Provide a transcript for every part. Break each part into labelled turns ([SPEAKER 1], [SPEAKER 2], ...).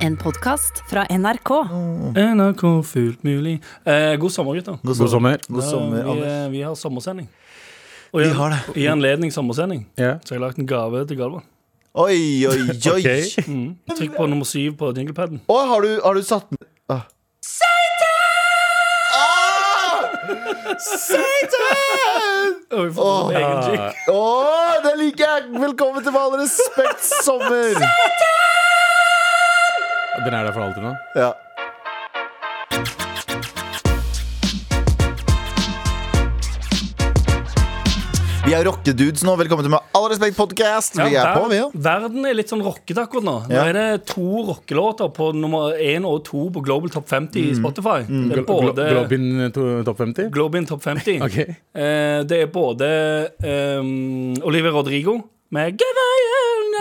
[SPEAKER 1] En podkast fra NRK.
[SPEAKER 2] NRK fullt mulig. Eh, god sommer, gutter.
[SPEAKER 3] God sommer.
[SPEAKER 2] Ja,
[SPEAKER 3] God sommer,
[SPEAKER 2] vi,
[SPEAKER 3] Anders.
[SPEAKER 2] eh, vi har sommersending. Og
[SPEAKER 3] Vi
[SPEAKER 2] i,
[SPEAKER 3] har det.
[SPEAKER 2] I anledning sommersending
[SPEAKER 3] Ja.
[SPEAKER 2] så har jeg lagd en gave til Galvan.
[SPEAKER 3] Oi, oi, oi. Ok.
[SPEAKER 2] Mm. Trykk på nummer syv på jinglepaden.
[SPEAKER 3] Å, har, du, har du satt den ah. Satan! Satan!
[SPEAKER 2] Og vi får
[SPEAKER 3] Åh.
[SPEAKER 2] egen jingle.
[SPEAKER 3] Å, det liker jeg! Velkommen til Med all respekt sommer!
[SPEAKER 4] Den er der for alltid nå?
[SPEAKER 3] Ja. Vi er rockedudes nå. Velkommen til Med all respekt podcast. Vi
[SPEAKER 2] Ja,
[SPEAKER 3] er på,
[SPEAKER 2] ver-
[SPEAKER 3] vi, ja.
[SPEAKER 2] Verden er litt sånn rockete akkurat nå. Nå
[SPEAKER 3] Ja.
[SPEAKER 2] er det to rockelåter på nummer én og to på Global Top 50
[SPEAKER 3] Mm.
[SPEAKER 2] i Spotify. Det er både
[SPEAKER 4] Globin eh, to- topp 50?
[SPEAKER 2] Globin Top 50.
[SPEAKER 4] Ok.
[SPEAKER 2] Eh, det er både um, Olivia Rodrigo med Give I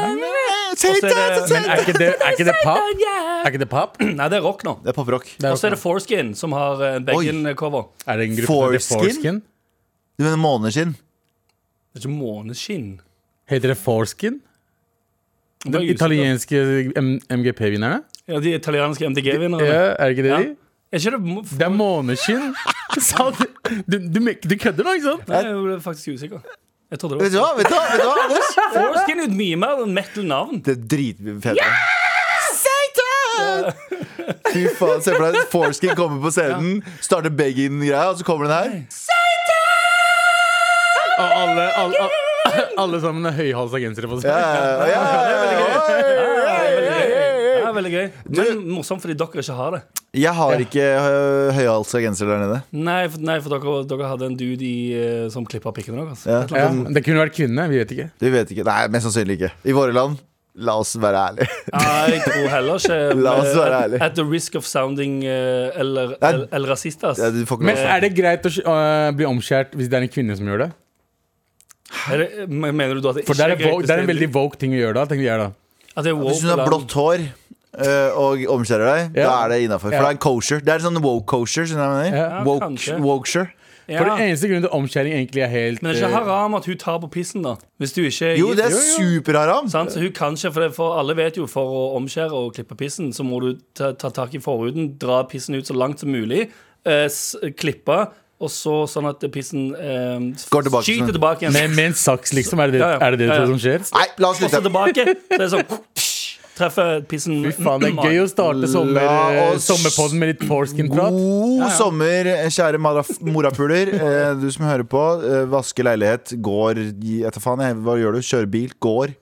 [SPEAKER 2] Og så er det-
[SPEAKER 3] Satan!
[SPEAKER 4] Men er ikke det, er ikke det pop? Er ikke det pop?
[SPEAKER 2] Nei, det er rock nå.
[SPEAKER 3] Det er poprock.
[SPEAKER 4] Det er,
[SPEAKER 2] Og så er
[SPEAKER 4] jo-
[SPEAKER 2] det Foreskin som har eh, Beggen-cover.
[SPEAKER 4] er det en gruppe som heter
[SPEAKER 3] Foreskin?
[SPEAKER 4] Foreskin?
[SPEAKER 3] Du mener måneskinn?
[SPEAKER 2] Det er ikke måneskinn.
[SPEAKER 4] Heter det Foreskin?
[SPEAKER 2] Det
[SPEAKER 4] De
[SPEAKER 2] er usikker.
[SPEAKER 4] italienske M- MGP-vinnerne?
[SPEAKER 2] Ja, de italienske MDG-vinnerne.
[SPEAKER 4] Ja, er det ikke det
[SPEAKER 2] Ja.
[SPEAKER 4] de?
[SPEAKER 2] Er ikke det mo-
[SPEAKER 4] Det er måneskinn! Sa du- Du, du, me- du kødder nå, ikke sant?
[SPEAKER 2] Nei, jeg ble faktisk usikker. Jeg trodde det
[SPEAKER 3] Vet du
[SPEAKER 2] var
[SPEAKER 3] hva, vet du hva, vet du hva Anders?
[SPEAKER 2] Foreskin er jo et mye mer enn metal-navn.
[SPEAKER 3] Det er dritfett. Satan! Fy faen, Se for deg Forskin kommer på scenen, starter Begin-greia, og så kommer den her.
[SPEAKER 4] Og alle, alle, alle, alle sammen har høyhalsa gensere på seg.
[SPEAKER 3] Ja, ja, ja, ja, ja, ja.
[SPEAKER 2] Det er veldig gøy. Men morsomt fordi dere ikke har det.
[SPEAKER 3] Jeg har ikke øh, høyhalsa genser der nede.
[SPEAKER 2] Nei, for, nei, for dere, dere hadde en dude i, eh, som klippa pikkene deres.
[SPEAKER 3] Ja.
[SPEAKER 4] Ja, det kunne vært kvinne, vi vet ikke.
[SPEAKER 3] Du vet ikke. Nei, mest sannsynlig ikke. I våre land. La oss være ærlige.
[SPEAKER 2] Nei, jeg tror heller ikke eh,
[SPEAKER 3] La oss være
[SPEAKER 2] at-
[SPEAKER 3] ærlig.
[SPEAKER 2] At the risk of sounding eh, eller,
[SPEAKER 3] Nei.
[SPEAKER 2] eller, eller rasistas.
[SPEAKER 3] Ja, du får ikke
[SPEAKER 4] Men
[SPEAKER 3] lov.
[SPEAKER 4] er det greit å øh, bli omskjært hvis det er en kvinne som gjør det?
[SPEAKER 2] Er det- men- Mener du da at det
[SPEAKER 4] For
[SPEAKER 2] ikke
[SPEAKER 4] det
[SPEAKER 2] er
[SPEAKER 4] er, en
[SPEAKER 2] greit?
[SPEAKER 4] woke,
[SPEAKER 2] hvis
[SPEAKER 4] det er en
[SPEAKER 2] det-
[SPEAKER 4] veldig woke ting å gjøre da. tenker jeg da
[SPEAKER 2] At det er woke
[SPEAKER 3] Hvis hun har
[SPEAKER 2] eller-
[SPEAKER 3] blått hår øh, og omskjærer deg, da
[SPEAKER 4] Ja.
[SPEAKER 3] er det innafor. For
[SPEAKER 4] Ja.
[SPEAKER 3] det er en kosher. Det er sånn woke kosher. Skjønner du hva
[SPEAKER 4] Ja.
[SPEAKER 3] jeg mener?
[SPEAKER 2] Ja,
[SPEAKER 3] Woke,
[SPEAKER 2] kanskje.
[SPEAKER 3] wokesher.
[SPEAKER 2] Ja.
[SPEAKER 4] For det eneste grunnen til omskjæring egentlig er helt
[SPEAKER 2] Men det er ikke
[SPEAKER 4] øh,
[SPEAKER 2] haram at hun tar på pissen, da. Hvis du ikke er
[SPEAKER 3] Eh, Jo, det er
[SPEAKER 4] Jo, jo.
[SPEAKER 3] superharam.
[SPEAKER 2] Sant? Så hun kan ikke, for, det, for alle vet jo for å omskjære og klippe pissen, så må du ta, ta tak i forhuden, dra pissen ut så langt som mulig, eh, s klippe, og så sånn at pissen eh,
[SPEAKER 3] Går tilbake,
[SPEAKER 2] skyter
[SPEAKER 3] sånn.
[SPEAKER 2] tilbake igjen.
[SPEAKER 4] med, med en saks, liksom? Er det det,
[SPEAKER 2] altså. Ja, ja.
[SPEAKER 4] Er det, det
[SPEAKER 2] Ja, ja.
[SPEAKER 4] som skjer?
[SPEAKER 3] Nei, la oss
[SPEAKER 2] Og så
[SPEAKER 3] slutte.
[SPEAKER 2] tilbake. Så er det sånn psh, Treffer pissen
[SPEAKER 4] Fy faen, det er gøy å starte sommer,
[SPEAKER 3] La
[SPEAKER 4] øh,
[SPEAKER 3] oss-
[SPEAKER 4] sommerpodden med litt Torskin-prat.
[SPEAKER 3] God sommer, kjære maraf- morapuler. Eh, Du som hører på. eh, Vaske leilighet, går gi- etter faen. jeg, Hva gjør du? Kjører bil, går.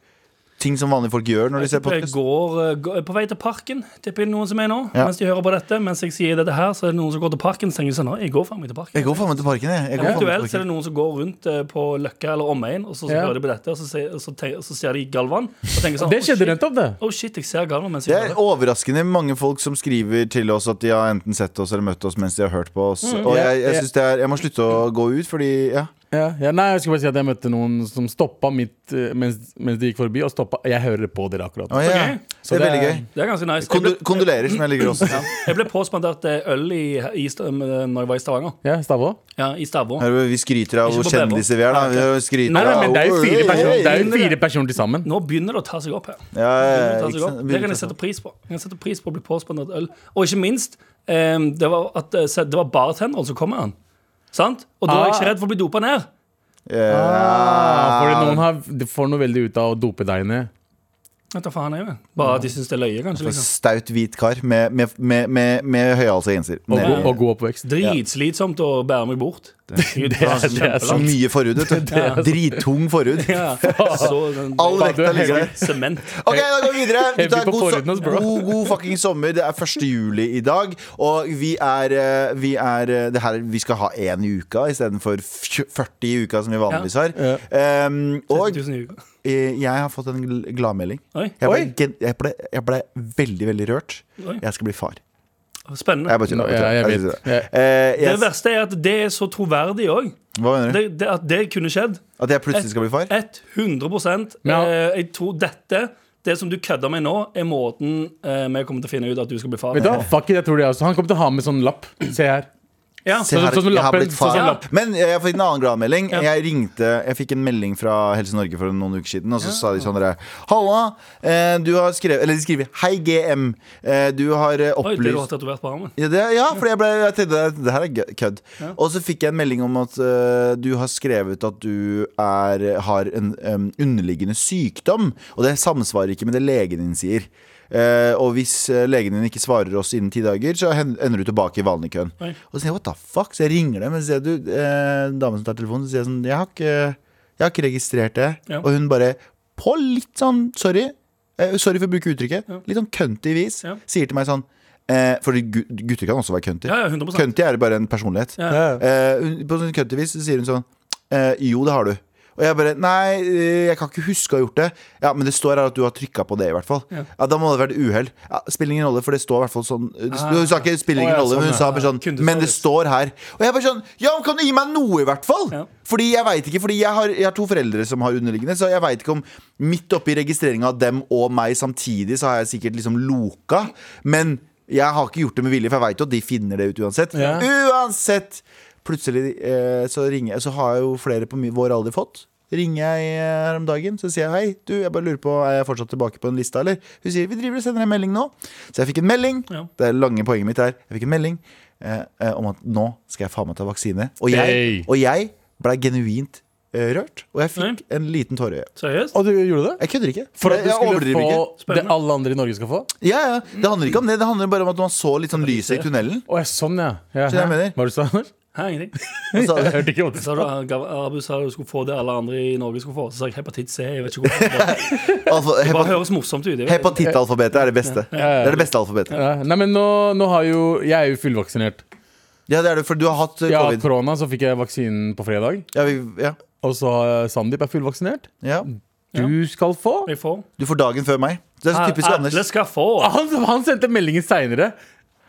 [SPEAKER 3] Ting som vanlige folk gjør når de ser
[SPEAKER 2] Jeg
[SPEAKER 3] podkast.
[SPEAKER 2] går, eh, går på vei til parken, tipper jeg noen som er nå.
[SPEAKER 3] Ja.
[SPEAKER 2] Mens de hører på dette. Mens jeg sier dette her, så er det noen som går til parken. Så tenker jeg sånn, «Å, jeg går faen meg til parken.
[SPEAKER 3] Jeg går faen meg til parken, jeg. jeg går faen meg
[SPEAKER 2] Eventuelt så er
[SPEAKER 3] til parken.
[SPEAKER 2] det noen som går rundt eh, på Løkka eller omegn, og så, så
[SPEAKER 4] Ja.
[SPEAKER 2] hører de på dette, og så, ser- og så, tenker, så ser de Galvan. Og tenker sånn,
[SPEAKER 4] Det
[SPEAKER 2] «Å,
[SPEAKER 4] skjedde
[SPEAKER 2] shit,
[SPEAKER 4] nettopp, det.
[SPEAKER 2] Å shit, jeg ser Galvan mens
[SPEAKER 3] Det
[SPEAKER 2] jeg
[SPEAKER 3] er
[SPEAKER 2] hører.
[SPEAKER 3] overraskende mange folk som skriver til oss at de har enten sett oss eller møtt oss mens de har hørt på oss.
[SPEAKER 4] Mm.
[SPEAKER 3] Og jeg, jeg, synes det er, jeg må slutte å gå ut, fordi ja.
[SPEAKER 4] Ja, ja, nei, Jeg skal bare si at jeg møtte noen som stoppa midt øh, mens, mens de gikk forbi. Og stoppa. Jeg hører på dere akkurat.
[SPEAKER 3] Å, ja.
[SPEAKER 2] Ok.
[SPEAKER 3] Det er veldig gøy.
[SPEAKER 2] Det er ganske nice. Jeg
[SPEAKER 3] Kondo
[SPEAKER 2] ble,
[SPEAKER 3] kondolerer, som jeg liker også.
[SPEAKER 2] jeg ble påspandert eh, øl i, i, Sta- eh, når jeg var i Stavanger.
[SPEAKER 4] Ja, Stavå?
[SPEAKER 2] Ja, i Stavå.
[SPEAKER 3] Her, vi skryter av
[SPEAKER 2] Ikke
[SPEAKER 3] hvor
[SPEAKER 2] på Bevo.
[SPEAKER 3] kjendiser vi er, da. Vi skryter
[SPEAKER 4] Nei, nei, men det er jo
[SPEAKER 3] av-
[SPEAKER 4] fire personer, det er jo fire personer til sammen.
[SPEAKER 2] Nå begynner det å ta seg opp her.
[SPEAKER 3] Ja, ja, ja,
[SPEAKER 2] Det tar
[SPEAKER 3] Eh, ikke
[SPEAKER 2] seg opp.
[SPEAKER 3] sant?
[SPEAKER 2] Det kan jeg sette pris på. Jeg kan sette pris på å bli påspandert øl. Og ikke minst, eh, det var, at, eh, se- det var bartenderen som kom med han. Sant? Og da er jeg
[SPEAKER 4] Ah.
[SPEAKER 2] ikke redd for å bli dopa ned.
[SPEAKER 4] Ja,
[SPEAKER 3] Ah,
[SPEAKER 4] fordi noen har, de får noe veldig ut av å dope deg ned.
[SPEAKER 2] Vet du faen jeg vet. Bare at de syns det er løye, kanskje. Liksom.
[SPEAKER 3] Staut hvit kar med, med, med, med, med høyhalsa genser.
[SPEAKER 4] Og,
[SPEAKER 3] Nede.
[SPEAKER 4] og god oppvekst.
[SPEAKER 2] Dritslitsomt å bære meg bort. Gud, faen,
[SPEAKER 4] det er
[SPEAKER 2] kjempelangt.
[SPEAKER 3] Så mye forhud. vet du. Drittung forhud.
[SPEAKER 2] Ja, så den-
[SPEAKER 3] All vekta ligger der.
[SPEAKER 2] Sement.
[SPEAKER 3] Ok, da går vi videre.
[SPEAKER 4] Heavy
[SPEAKER 3] Gutta,
[SPEAKER 4] på
[SPEAKER 3] god,
[SPEAKER 4] forhuden hos
[SPEAKER 3] so-
[SPEAKER 4] bro.
[SPEAKER 3] god, god fucking sommer. Det er 1. juli i dag, og vi er, eh, vi er eh, det her, Vi skal ha én i uka istedenfor 40 i uka, som vi vanligvis har. Um, og
[SPEAKER 2] 1000 i uka.
[SPEAKER 3] eh, jeg har fått en gl- gladmelding.
[SPEAKER 2] Oi.
[SPEAKER 3] Jeg ble,
[SPEAKER 4] Oi.
[SPEAKER 3] gen- jeg, ble, jeg ble veldig, veldig rørt.
[SPEAKER 2] Oi.
[SPEAKER 3] Jeg skal bli far.
[SPEAKER 2] Spennende.
[SPEAKER 3] Jeg bare
[SPEAKER 4] Nå,
[SPEAKER 3] tuller.
[SPEAKER 4] ja, jeg
[SPEAKER 3] jeg bare
[SPEAKER 4] vet.
[SPEAKER 3] tuller. Eh,
[SPEAKER 2] Det
[SPEAKER 3] jeg-
[SPEAKER 2] verste er at det er så troverdig òg.
[SPEAKER 3] Hva mener du?
[SPEAKER 2] At det kunne skjedd.
[SPEAKER 3] At jeg plutselig skal bli far?
[SPEAKER 2] 100
[SPEAKER 4] Ja.
[SPEAKER 2] eh, Jeg tror dette, det som du kødder med nå, er måten eh, vi kommer til å finne ut at du skal bli far.
[SPEAKER 4] altså. Vet du hva? Fuck it, jeg tror det også. Han kommer til å ha med sånn lapp. Se her.
[SPEAKER 2] Ja.
[SPEAKER 3] Se
[SPEAKER 4] Sånn-
[SPEAKER 3] her,
[SPEAKER 4] sånn som
[SPEAKER 3] jeg har
[SPEAKER 4] lappen,
[SPEAKER 3] blitt far.
[SPEAKER 4] sånn som lapp.
[SPEAKER 3] Men jeg fikk en annen gladmelding.
[SPEAKER 2] Ja.
[SPEAKER 3] Jeg ringte, jeg fikk en melding fra Helse Norge for noen uker siden, og så sa de sånn derre Halla, eh, du har skrevet Eller de skriver Hei, GM. eh, Du har eh,
[SPEAKER 2] Oi, det du har
[SPEAKER 3] opplyst
[SPEAKER 2] tatovert på armen.
[SPEAKER 3] ja, det, ja, for jeg, ble, jeg tenkte det her er gø- kødd. Og så fikk jeg en melding om at eh, du har skrevet at du er, har en em, underliggende sykdom, og det samsvarer ikke med det legen din sier. Eh, og hvis eh, legen din ikke svarer oss innen ti dager, så hen- ender du tilbake i vanlig køen.
[SPEAKER 2] Oi.
[SPEAKER 3] Og så sier jeg what the fuck, så jeg ringer dem, og så sier jeg, du, eh, damen som tar telefonen, så sier jeg sånn, jeg har ikke, jeg har ikke registrert det.
[SPEAKER 2] Ja.
[SPEAKER 3] Og hun bare, på litt sånn, sorry, eh, sorry for å bruke uttrykket,
[SPEAKER 2] Ja.
[SPEAKER 3] litt sånn køntig vis,
[SPEAKER 2] Ja.
[SPEAKER 3] sier til meg sånn, eh, for gutter kan også være køntig.
[SPEAKER 2] Ja, ja, 100
[SPEAKER 3] Køntig er bare en personlighet.
[SPEAKER 2] Ja.
[SPEAKER 4] Ja.
[SPEAKER 3] Eh, hun, på sånn køntig vis så sier hun sånn, eh, jo det har du. Og jeg bare, nei, eh, jeg kan ikke huske å ha gjort det Ja, men det står her at du har trykket på det i hvert fall Ja,
[SPEAKER 2] Ja.
[SPEAKER 3] da må det være uheld ja, Spiller ingen rolle, for det står i hvert fall sånn Hun sa ikke, spiller
[SPEAKER 4] Å, ja,
[SPEAKER 3] ingen rolle, men
[SPEAKER 4] sånn, ja.
[SPEAKER 3] hun sa bare sånn
[SPEAKER 2] Kunne
[SPEAKER 3] Men
[SPEAKER 2] stå
[SPEAKER 3] det
[SPEAKER 2] litt.
[SPEAKER 3] står her. Og jeg bare sånn Ja, men kan du gi meg noe, i hvert fall?
[SPEAKER 2] Ja.
[SPEAKER 3] Fordi jeg vet ikke, fordi jeg har, jeg har to foreldre som har underliggende, så jeg veit ikke om midt oppi registreringa av dem og meg samtidig, så har jeg sikkert liksom loka. Men jeg har ikke gjort det med vilje, for jeg veit jo at de finner det ut uansett.
[SPEAKER 4] Ja.
[SPEAKER 3] Uansett! Plutselig eh, så ringer jeg, så har jeg jo flere på mi- vår alder fått. Ringer jeg eh, her om dagen, så sier jeg hei, du, jeg bare lurer på, er jeg fortsatt tilbake på den lista, eller? Hun sier vi driver og sender en melding nå. Så jeg fikk en melding.
[SPEAKER 2] Ja.
[SPEAKER 3] Det lange poenget mitt er Jeg fikk en melding eh, eh, om at nå skal jeg faen meg ta vaksine. Og jeg,
[SPEAKER 4] Hey.
[SPEAKER 3] og jeg ble genuint eh, rørt, og jeg fikk
[SPEAKER 2] Nei.
[SPEAKER 3] en liten tåre i øyet.
[SPEAKER 2] Seriøst?
[SPEAKER 4] Og du gjorde det?
[SPEAKER 3] Jeg kødder ikke.
[SPEAKER 4] For at du
[SPEAKER 3] jeg
[SPEAKER 4] skulle
[SPEAKER 3] overdriver ikke.
[SPEAKER 4] få det
[SPEAKER 2] Spennende.
[SPEAKER 4] alle andre i Norge skal få?
[SPEAKER 3] Ja, ja. Det handler ikke om det, det handler bare om at man så litt sånn lyset i tunnelen.
[SPEAKER 4] Å, ja, sånn, ja. ja.
[SPEAKER 3] Skjønner jeg mener?
[SPEAKER 4] Hva du sa du?
[SPEAKER 2] Hæ, ingenting.
[SPEAKER 3] Og så-
[SPEAKER 4] Jeg hørte ikke hva du sa.
[SPEAKER 2] Så du, eh, Abu sa du skulle få det alle andre i Norge skulle få. Så sa jeg hepatitt C. Jeg vet ikke hvorfor.
[SPEAKER 3] alfa-
[SPEAKER 2] Det bare
[SPEAKER 3] hepa-
[SPEAKER 2] høres morsomt ut. jeg vet.
[SPEAKER 3] Hepatittalfabetet er det beste.
[SPEAKER 4] ja.
[SPEAKER 3] Det er det beste alfabetet.
[SPEAKER 4] Ja. Nei, men nå, nå har jo Jeg er jo fullvaksinert.
[SPEAKER 3] Ja, det er det, for du har hatt eh,
[SPEAKER 4] Jeg har hatt
[SPEAKER 3] covid.
[SPEAKER 4] korona, så fikk jeg vaksinen på fredag.
[SPEAKER 3] Ja, vi, ja,
[SPEAKER 4] Og så har Sandeep er fullvaksinert.
[SPEAKER 3] ja.
[SPEAKER 4] Du skal få.
[SPEAKER 2] Jeg får.
[SPEAKER 3] Du får dagen før meg. Det er så typisk
[SPEAKER 2] Alle
[SPEAKER 3] Anders. Ah.
[SPEAKER 2] skal få.
[SPEAKER 4] Han, han sendte meldingen seinere.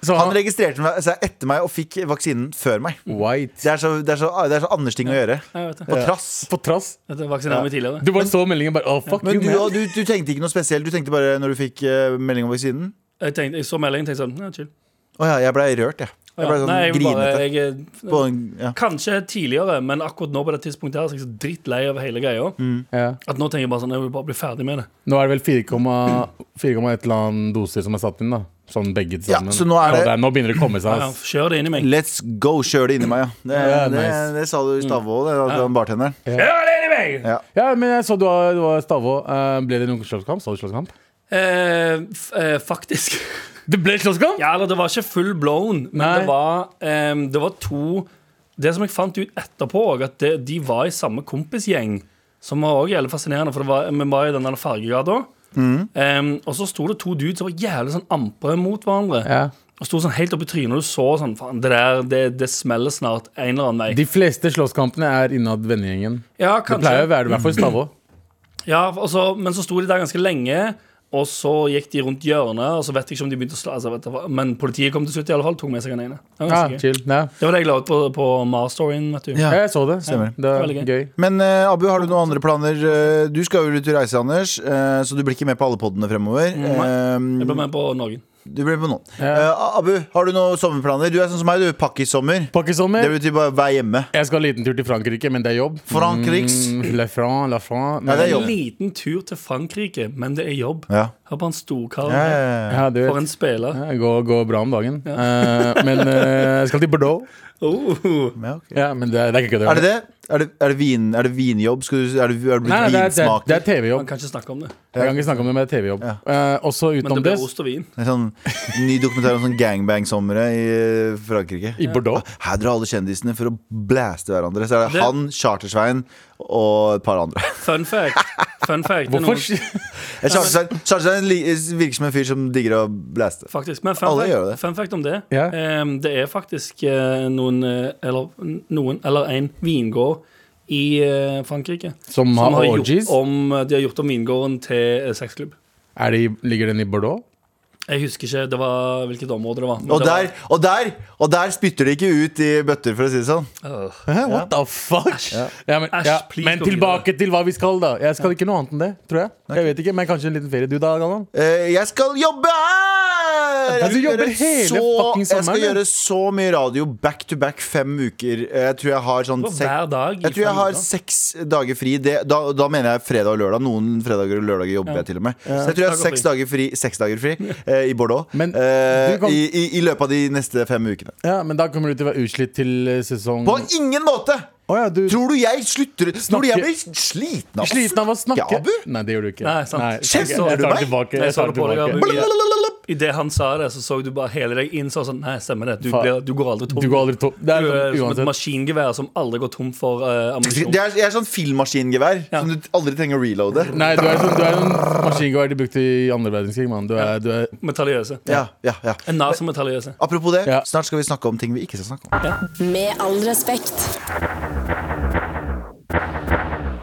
[SPEAKER 4] Så
[SPEAKER 3] Han
[SPEAKER 4] han,
[SPEAKER 3] registrerte meg- seg etter meg og fikk vaksinen før meg.
[SPEAKER 4] White.
[SPEAKER 3] Det er så, det er så, ah, det er så Anders-ting å gjøre.
[SPEAKER 2] Jeg vet det.
[SPEAKER 3] På trass.
[SPEAKER 4] På trass.
[SPEAKER 2] Dette vaksinerte meg tidligere.
[SPEAKER 4] Du bare så meldingen bare oh, fuck
[SPEAKER 3] Men
[SPEAKER 4] you,
[SPEAKER 3] du,
[SPEAKER 4] man.
[SPEAKER 3] du, du tenkte ikke noe spesielt? Du tenkte bare når du fikk eh, melding om vaksinen?
[SPEAKER 2] Jeg, tenkte, jeg så meldingen tenkte sånn ja, chill.
[SPEAKER 3] Å ja, jeg blei rørt, jeg. Jeg
[SPEAKER 2] Ja.
[SPEAKER 3] blei sånn
[SPEAKER 2] Nei, jeg vil bare,
[SPEAKER 3] grinete.
[SPEAKER 2] jeg, er-
[SPEAKER 3] På en, ja.
[SPEAKER 2] kanskje tidligere, men akkurat nå på det tidspunktet her, så er jeg så drittlei av hele greia.
[SPEAKER 3] Mm.
[SPEAKER 4] Ja.
[SPEAKER 2] At nå tenker jeg bare sånn, jeg vil bare bli ferdig med det.
[SPEAKER 4] Nå er det vel 4,1 eller annen doser som er satt inn, da. Sånn begge
[SPEAKER 3] Ja,
[SPEAKER 4] sammen.
[SPEAKER 3] så nå er
[SPEAKER 4] Ja,
[SPEAKER 3] det-
[SPEAKER 4] nå begynner det å komme seg.
[SPEAKER 2] Ja,
[SPEAKER 4] ass.
[SPEAKER 2] kjør det inn i meg.
[SPEAKER 3] Let's go, kjør det inni meg, ja. Det,
[SPEAKER 4] Ja,
[SPEAKER 3] det,
[SPEAKER 4] nice.
[SPEAKER 3] det sa du i Stavvoll, det, at han bartenderen.
[SPEAKER 2] Kjør det inn i meg!
[SPEAKER 3] Ja.
[SPEAKER 4] Ja, men jeg så du var, du var Stavå. Eh, ble det noen slåsskamp? Så du slåsskamp?
[SPEAKER 2] Eh, f eh, faktisk.
[SPEAKER 4] Det ble slåsskamp!
[SPEAKER 2] Ja, eller det var ikke full blown, men
[SPEAKER 4] Nei.
[SPEAKER 2] det var, ehm, det var to Det som jeg fant ut etterpå, også, at det, de var i samme kompisgjeng. Som var også jævlig fascinerende, for det var, vi var i den der fargegata. Ehm, og så sto det to dudes som var jævlig sånn ampre mot hverandre.
[SPEAKER 4] Ja.
[SPEAKER 2] Og sto sånn helt opp i trynet, og du så sånn Faen, det der, det, det smeller snart en eller annen vei.
[SPEAKER 4] De fleste slåsskampene er innad vennegjengen.
[SPEAKER 2] ja,
[SPEAKER 4] Det pleier å
[SPEAKER 2] kanskje.
[SPEAKER 4] være det, i hvert fall i Stavå.
[SPEAKER 2] Ja, og så, men så sto de der ganske lenge. Og så gikk de rundt hjørnet, og så vet jeg ikke om de begynte å slå. Altså, vet du hva, men politiet kom til slutt, i alle fall. Tok med seg han ene. Det var
[SPEAKER 4] Ja,
[SPEAKER 2] ganske gøy.
[SPEAKER 4] chill. Ja.
[SPEAKER 2] Det var det jeg la ut på, på Marstoryen, vet du.
[SPEAKER 3] Ja.
[SPEAKER 4] Jeg så det.
[SPEAKER 3] Stemmer.
[SPEAKER 4] Det var
[SPEAKER 2] Veldig gøy.
[SPEAKER 4] gøy.
[SPEAKER 3] Men eh, Abu, har du noen andre planer? Eh, du skal jo ut i reise, Anders, eh, så du blir ikke med på alle poddene fremover. Eh,
[SPEAKER 2] Jeg ble med på noen.
[SPEAKER 3] du blir med på noen.
[SPEAKER 4] Ja.
[SPEAKER 3] Eh, Abu, har du noen sommerplaner? Du er sånn som meg, du. Pakkisommer. Det
[SPEAKER 4] Pakkisommer.
[SPEAKER 3] betyr bare være hjemme.
[SPEAKER 4] Jeg skal en liten tur til Frankrike, men det er jobb.
[SPEAKER 3] Frankrikes.
[SPEAKER 4] Mm, La France, la France.
[SPEAKER 3] Ja, det er
[SPEAKER 2] En
[SPEAKER 3] jobb.
[SPEAKER 2] liten tur til Frankrike, men det er jobb.
[SPEAKER 3] Ja.
[SPEAKER 2] Hør på han storkaren.
[SPEAKER 3] Ja,
[SPEAKER 2] her.
[SPEAKER 3] ja, ja.
[SPEAKER 4] Ja, du
[SPEAKER 2] For
[SPEAKER 4] vet.
[SPEAKER 2] en spiller.
[SPEAKER 4] Ja, det går, går bra om dagen. Eh, men eh, jeg skal til Bordeaux.
[SPEAKER 2] Oh.
[SPEAKER 3] Ja, ok.
[SPEAKER 4] Ja, men det, det er ikke kødd.
[SPEAKER 3] Er det det? Er det, er det, vin, er det vinjobb? Skal du, er, du, er du
[SPEAKER 4] Nei, nei, det er,
[SPEAKER 3] blitt
[SPEAKER 4] det er, det
[SPEAKER 3] vinsmaker?
[SPEAKER 4] er TV-jobb.
[SPEAKER 2] Man kan ikke snakke om det.
[SPEAKER 4] Jeg kan ikke snakke om det, men det er TV-jobb.
[SPEAKER 3] Ja.
[SPEAKER 4] Eh, også
[SPEAKER 2] Men
[SPEAKER 4] utenom
[SPEAKER 2] det
[SPEAKER 4] det,
[SPEAKER 2] blir ost og vin.
[SPEAKER 3] En sånn ny dokumentar om sånn gangbang-sommere i eh, Frankrike.
[SPEAKER 4] i Bordeaux.
[SPEAKER 3] Her drar alle kjendisene for å blæste hverandre. Så er det,
[SPEAKER 2] Det-
[SPEAKER 3] han, Chartersvein og et par andre.
[SPEAKER 2] Fun fact. Fun fact. Det er
[SPEAKER 4] Hvorfor?
[SPEAKER 2] noen-
[SPEAKER 3] Eh, Chartersvein, Chartersvein li- virker som en fyr som digger å blæste.
[SPEAKER 2] Faktisk. Men fun
[SPEAKER 3] Alle gjør det.
[SPEAKER 2] fact, fun fact om det.
[SPEAKER 4] Ja.
[SPEAKER 2] Em, det er faktisk eh, noen eh, eller noen eller en vingård i eh, Frankrike
[SPEAKER 4] Som har orgies?
[SPEAKER 2] gjort om, eh, de har gjort om vingården til eh, sexklubb.
[SPEAKER 4] Er det, i- ligger den i Bordeaux?
[SPEAKER 2] Jeg husker ikke det var, hvilket område det var. men
[SPEAKER 3] Og
[SPEAKER 2] det var-
[SPEAKER 3] der, og, der, og der spytter de ikke ut i bøtter, for å si det sånn.
[SPEAKER 2] Øh.
[SPEAKER 4] What the fuck? Ja, men,
[SPEAKER 2] Æsj,
[SPEAKER 4] ja.
[SPEAKER 2] please
[SPEAKER 4] men
[SPEAKER 2] gå
[SPEAKER 4] tilbake til hva vi skal, da. Jeg skal ikke noe annet enn det, tror jeg. Jeg vet ikke, Men kanskje en liten ferie. Du da, Galvan?
[SPEAKER 3] Eh, jeg skal jobbe! gjør! Jeg
[SPEAKER 4] Du
[SPEAKER 3] skal,
[SPEAKER 4] jobber
[SPEAKER 3] gjøre
[SPEAKER 4] hele
[SPEAKER 3] så,
[SPEAKER 4] fucking
[SPEAKER 3] jeg skal
[SPEAKER 4] sommeren, ja.
[SPEAKER 3] gjøre så mye radio back to back fem uker. Jeg tror jeg har sånn
[SPEAKER 2] Det var
[SPEAKER 3] sek-
[SPEAKER 2] hver dag i
[SPEAKER 3] Jeg tror jeg
[SPEAKER 2] fem
[SPEAKER 3] har
[SPEAKER 2] uker.
[SPEAKER 3] seks dager fri. Det, da, da mener jeg fredag og lørdag. Noen fredager og lørdager jobber jeg til og med. Så jeg tror jeg har
[SPEAKER 2] Dager
[SPEAKER 3] seks
[SPEAKER 2] fri.
[SPEAKER 3] dager fri, seks dager fri eh, i Bordeaux
[SPEAKER 4] Men
[SPEAKER 3] eh,
[SPEAKER 4] du kan-
[SPEAKER 3] i, i, i løpet av de neste fem ukene.
[SPEAKER 4] Ja, men da kommer du til å være utslitt til eh, sesong
[SPEAKER 3] På ingen måte!
[SPEAKER 4] Å ja, du
[SPEAKER 3] Tror du jeg slutter Tror du jeg
[SPEAKER 4] Snakke-
[SPEAKER 3] blir sliten av å
[SPEAKER 4] sliten av å snakke
[SPEAKER 3] Abu?
[SPEAKER 4] Nei, det gjør du ikke.
[SPEAKER 2] Nei, sant.
[SPEAKER 4] jeg,
[SPEAKER 2] Kjeft,
[SPEAKER 4] jeg,
[SPEAKER 2] du
[SPEAKER 4] tar det
[SPEAKER 3] meg?
[SPEAKER 4] tilbake.
[SPEAKER 2] Jeg
[SPEAKER 4] Jeg
[SPEAKER 2] så
[SPEAKER 4] tar
[SPEAKER 2] det
[SPEAKER 4] det
[SPEAKER 2] på deg,
[SPEAKER 4] tilbake.
[SPEAKER 2] Abu.
[SPEAKER 3] Blablabla.
[SPEAKER 2] Idet han sa det, så så du bare hele deg inn så var sånn Nei, stemmer det. Du,
[SPEAKER 4] Faen.
[SPEAKER 2] blir, du går aldri tom.
[SPEAKER 4] Du går aldri tom. Det er
[SPEAKER 2] Du er som
[SPEAKER 4] sånn,
[SPEAKER 2] et
[SPEAKER 4] uansett.
[SPEAKER 2] maskingevær som aldri går tom for eh, ammunisjon.
[SPEAKER 3] Det er, jeg er sånn filmmaskingevær
[SPEAKER 2] Ja.
[SPEAKER 3] som du aldri trenger å reloade.
[SPEAKER 4] Nei, du er sånn, du er sånn maskingevær de brukte i andre verdenskrig, mann. Du er, du er
[SPEAKER 2] Metalliøse.
[SPEAKER 3] Ja, ja, ja.
[SPEAKER 2] En nazi-metalliøse.
[SPEAKER 3] Apropos det,
[SPEAKER 4] Ja.
[SPEAKER 3] snart skal vi snakke om ting vi ikke skal snakke om.
[SPEAKER 1] Med all respekt.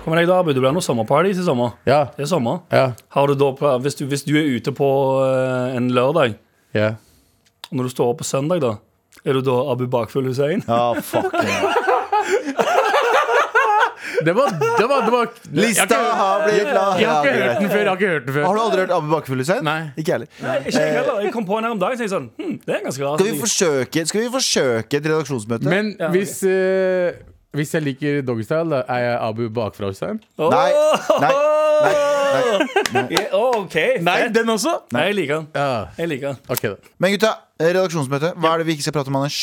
[SPEAKER 2] Kommer deg da, Abu. Det blir noe sommerparty til sommer.
[SPEAKER 4] Ja.
[SPEAKER 2] Det er sommer.
[SPEAKER 4] Ja.
[SPEAKER 2] Har du da, pla- hvis, du, hvis du er ute på eh, en lørdag,
[SPEAKER 4] ja.
[SPEAKER 2] og når du står opp på søndag, da er du da Abu Bakfull Hussein?
[SPEAKER 3] Ja, fuck det.
[SPEAKER 4] Det var, det var, det var jeg
[SPEAKER 3] Lista
[SPEAKER 4] har ikke-
[SPEAKER 3] har blitt la-
[SPEAKER 4] Jeg har ikke hørt den
[SPEAKER 3] greit.
[SPEAKER 4] før. Jeg har ikke hørt den før.
[SPEAKER 3] Har du aldri hørt Abu Bakke Hussein?
[SPEAKER 4] Nei.
[SPEAKER 3] Ikke jeg heller.
[SPEAKER 2] Nei, ikke jeg heller. Jeg kom på en her om dagen og tenkte sånn hm, Det er ganske rart.
[SPEAKER 3] Skal vi forsøke, skal vi forsøke et redaksjonsmøte?
[SPEAKER 4] Men
[SPEAKER 2] Ja, ok.
[SPEAKER 4] hvis, eh, hvis jeg liker Doggystyle, da er jeg Abu bakfra hos deg?
[SPEAKER 2] Åh!
[SPEAKER 3] Nei, nei, nei, nei.
[SPEAKER 2] Ja, åh, OK. Fett.
[SPEAKER 4] den også?
[SPEAKER 2] Nei, jeg liker den.
[SPEAKER 4] Ja.
[SPEAKER 2] Jeg liker den.
[SPEAKER 4] OK, da.
[SPEAKER 3] Men gutta, redaksjonsmøte. Hva er det vi ikke skal prate om, Anders?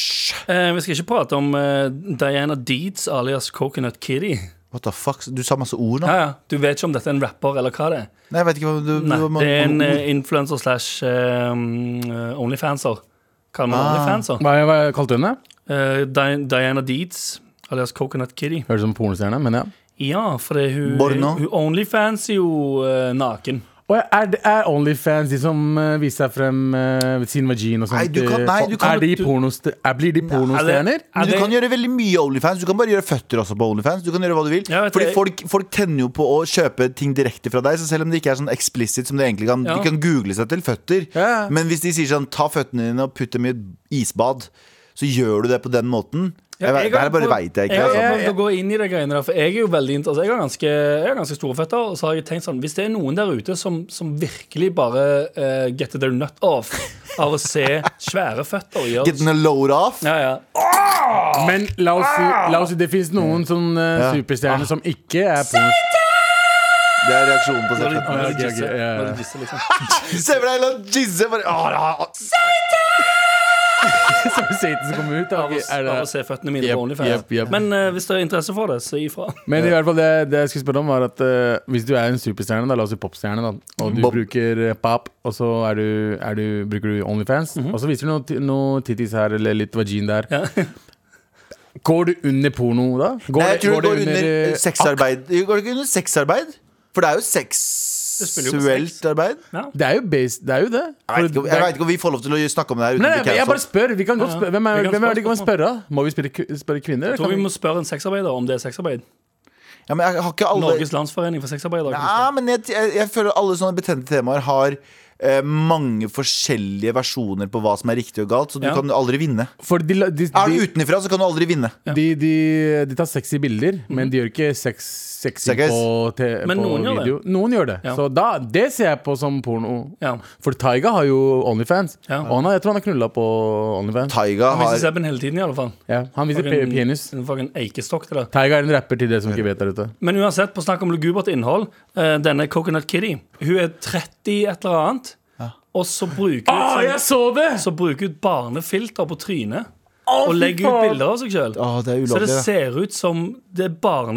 [SPEAKER 2] Eh, vi skal ikke prate om eh, Diana Deeds alias Coconut Kitty.
[SPEAKER 3] What the fuck? Du sa masse ord nå.
[SPEAKER 2] Ja, ja. Du vet ikke om dette er en rapper eller hva det er.
[SPEAKER 3] Nei, jeg vet ikke hva du,
[SPEAKER 2] Nei,
[SPEAKER 3] du må-
[SPEAKER 2] det er en eh, influencer slash eh, mm, Onlyfanser. Kaller man
[SPEAKER 3] Ah.
[SPEAKER 2] Onlyfanser.
[SPEAKER 4] Hva, hva kalte du henne?
[SPEAKER 2] Eh, Di Diana Deeds alias Coconut Kitty.
[SPEAKER 4] Høres ut som pornostjerne, men ja.
[SPEAKER 2] Ja, for det, hun,
[SPEAKER 3] Borno.
[SPEAKER 2] hun Onlyfans er jo eh, naken.
[SPEAKER 4] Og er, det- er Onlyfans de som eh, viser seg frem eh, sin vagina og sånt?
[SPEAKER 3] Nei, du kan- nei, du kan-
[SPEAKER 4] er de
[SPEAKER 2] du-
[SPEAKER 4] pornoste- er, blir de pornostjerner?
[SPEAKER 2] Er
[SPEAKER 3] Men du
[SPEAKER 2] det-
[SPEAKER 3] kan gjøre veldig mye Onlyfans. Du kan bare gjøre føtter også på Onlyfans. Du kan gjøre hva du vil
[SPEAKER 2] Ja, vet du,
[SPEAKER 3] Fordi
[SPEAKER 2] jeg-
[SPEAKER 3] folk, folk tenner jo på å kjøpe ting direkte fra deg. Så selv om det ikke er sånn eksplisitt som det egentlig kan
[SPEAKER 2] Ja.
[SPEAKER 3] De kan google seg til føtter.
[SPEAKER 4] Ja.
[SPEAKER 3] Men hvis de sier sånn ta føttene dine og putt dem i et isbad, så gjør du det på den måten.
[SPEAKER 2] Ja,
[SPEAKER 3] jeg, vet-
[SPEAKER 2] har
[SPEAKER 3] det her bare
[SPEAKER 2] prøvd-
[SPEAKER 3] veit jeg ikke.
[SPEAKER 2] Jeg har
[SPEAKER 3] altså.
[SPEAKER 2] prøvd å gå inn i de greiene der, for jeg er jo veldig interessert. Jeg har ganske, jeg har ganske store føtter, og så har jeg tenkt sånn Hvis det er noen der ute som, som virkelig bare eh, get their nut off av å se svære føtter og gjøre
[SPEAKER 3] Getting a load off.
[SPEAKER 2] ja, ja.
[SPEAKER 4] Men la oss si, la oss si det fins noen sånn eh,
[SPEAKER 3] Ja.
[SPEAKER 4] superstjerner som ikke er pornostjerner.
[SPEAKER 3] Det er reaksjonen på
[SPEAKER 2] Når de-
[SPEAKER 3] Satan.
[SPEAKER 2] når
[SPEAKER 4] ok,
[SPEAKER 2] de
[SPEAKER 4] ok,
[SPEAKER 2] gisser,
[SPEAKER 4] ja, ja.
[SPEAKER 2] når de gisser, liksom.
[SPEAKER 3] Se for deg la Jizze bare ah, ah, ah.
[SPEAKER 4] som Satan som kommer ut. da.
[SPEAKER 2] Av å-
[SPEAKER 4] Er det-
[SPEAKER 2] Av å se føttene mine
[SPEAKER 4] Jep,
[SPEAKER 2] på OnlyFans.
[SPEAKER 4] jep, jep.
[SPEAKER 2] Men eh, hvis det er interesse for det, så ifra.
[SPEAKER 4] Men i hvert fall det, det jeg skulle spørre om, var at eh, hvis du er en superstjerne, da, la oss si popstjerne, da, og du
[SPEAKER 3] Bob.
[SPEAKER 4] bruker eh, pop, og så er du, er du, bruker du Onlyfans,
[SPEAKER 3] Mhm.
[SPEAKER 4] og så viser du noe, ti- noe tittis her eller litt vagin der,
[SPEAKER 2] Ja.
[SPEAKER 4] går du under porno da? Går,
[SPEAKER 3] Nei, jeg tror det
[SPEAKER 4] det
[SPEAKER 3] går under eh,
[SPEAKER 4] eh,
[SPEAKER 3] sexarbeid. Går det ikke under sexarbeid? For det er jo
[SPEAKER 2] spiller jo på sex.
[SPEAKER 3] seksuelt arbeid.
[SPEAKER 4] Ah, Det er jo base, det er jo det.
[SPEAKER 3] Jeg
[SPEAKER 4] For
[SPEAKER 3] vet, ikke, om-
[SPEAKER 4] det er-
[SPEAKER 3] jeg vet ikke om vi får lov til å snakke om det her. uten
[SPEAKER 4] Nei,
[SPEAKER 3] å
[SPEAKER 4] nei,
[SPEAKER 3] bli
[SPEAKER 4] men jeg bare
[SPEAKER 3] cancelled.
[SPEAKER 4] spør. Vi kan godt
[SPEAKER 2] Ja, ja.
[SPEAKER 4] spørre. Hvem er,
[SPEAKER 2] Vi kan
[SPEAKER 4] hvem er det
[SPEAKER 2] spørre
[SPEAKER 4] vi kan
[SPEAKER 2] spørsmål.
[SPEAKER 4] spørre? da? Må vi spørre, ku- spørre kvinner?
[SPEAKER 2] Jeg
[SPEAKER 4] eller
[SPEAKER 2] tror
[SPEAKER 4] kan
[SPEAKER 2] vi
[SPEAKER 4] vi-
[SPEAKER 2] må spørre en sexarbeider om det er sexarbeid.
[SPEAKER 3] ja, men jeg har ikke alle
[SPEAKER 2] Norges landsforening for sexarbeidere.
[SPEAKER 3] Nei, men jeg, jeg, jeg føler alle sånne betente temaer har eh, mange forskjellige versjoner på hva som er riktig og galt, så du
[SPEAKER 2] Ja.
[SPEAKER 3] kan aldri vinne.
[SPEAKER 4] For de, la- de,
[SPEAKER 3] Er du
[SPEAKER 4] de,
[SPEAKER 3] utenfra, så kan du aldri vinne.
[SPEAKER 4] de, de, de tar sexy bilder, men de gjør ikke sex, sexy
[SPEAKER 3] Sex.
[SPEAKER 4] på, te,
[SPEAKER 2] Mhm. Men
[SPEAKER 4] på
[SPEAKER 2] noen gjør det.
[SPEAKER 4] video. Noen gjør det.
[SPEAKER 2] Ja.
[SPEAKER 4] Så da, det ser jeg på som porno.
[SPEAKER 2] Ja.
[SPEAKER 4] For Taiga har jo Onlyfans.
[SPEAKER 2] Ja.
[SPEAKER 4] Og han, har- jeg tror han har knulla på Onlyfans.
[SPEAKER 3] Taiga
[SPEAKER 2] Han
[SPEAKER 3] har
[SPEAKER 2] viser sæben hele tiden, i alle fall.
[SPEAKER 4] Ja, han viser pe-
[SPEAKER 2] Fucking-
[SPEAKER 4] penis.
[SPEAKER 2] En fucking eikestokk til det.
[SPEAKER 4] Taiga er en rapper til dere som ikke vet der ute.
[SPEAKER 2] Men uansett, på snakk om lugubert innhold eh, Denne Coconut Kitty Hun er 30 et eller annet Og så bruker hun
[SPEAKER 4] Å,
[SPEAKER 2] sånn-
[SPEAKER 4] Ah, så det!
[SPEAKER 2] Så bruker hun barnefilter på trynet
[SPEAKER 4] Å,
[SPEAKER 2] Og
[SPEAKER 4] fy
[SPEAKER 2] legger ut
[SPEAKER 4] faen.
[SPEAKER 2] bilder av seg selv
[SPEAKER 3] Å, det er ulovlig,
[SPEAKER 2] Så det
[SPEAKER 3] det.
[SPEAKER 2] ser ut som det er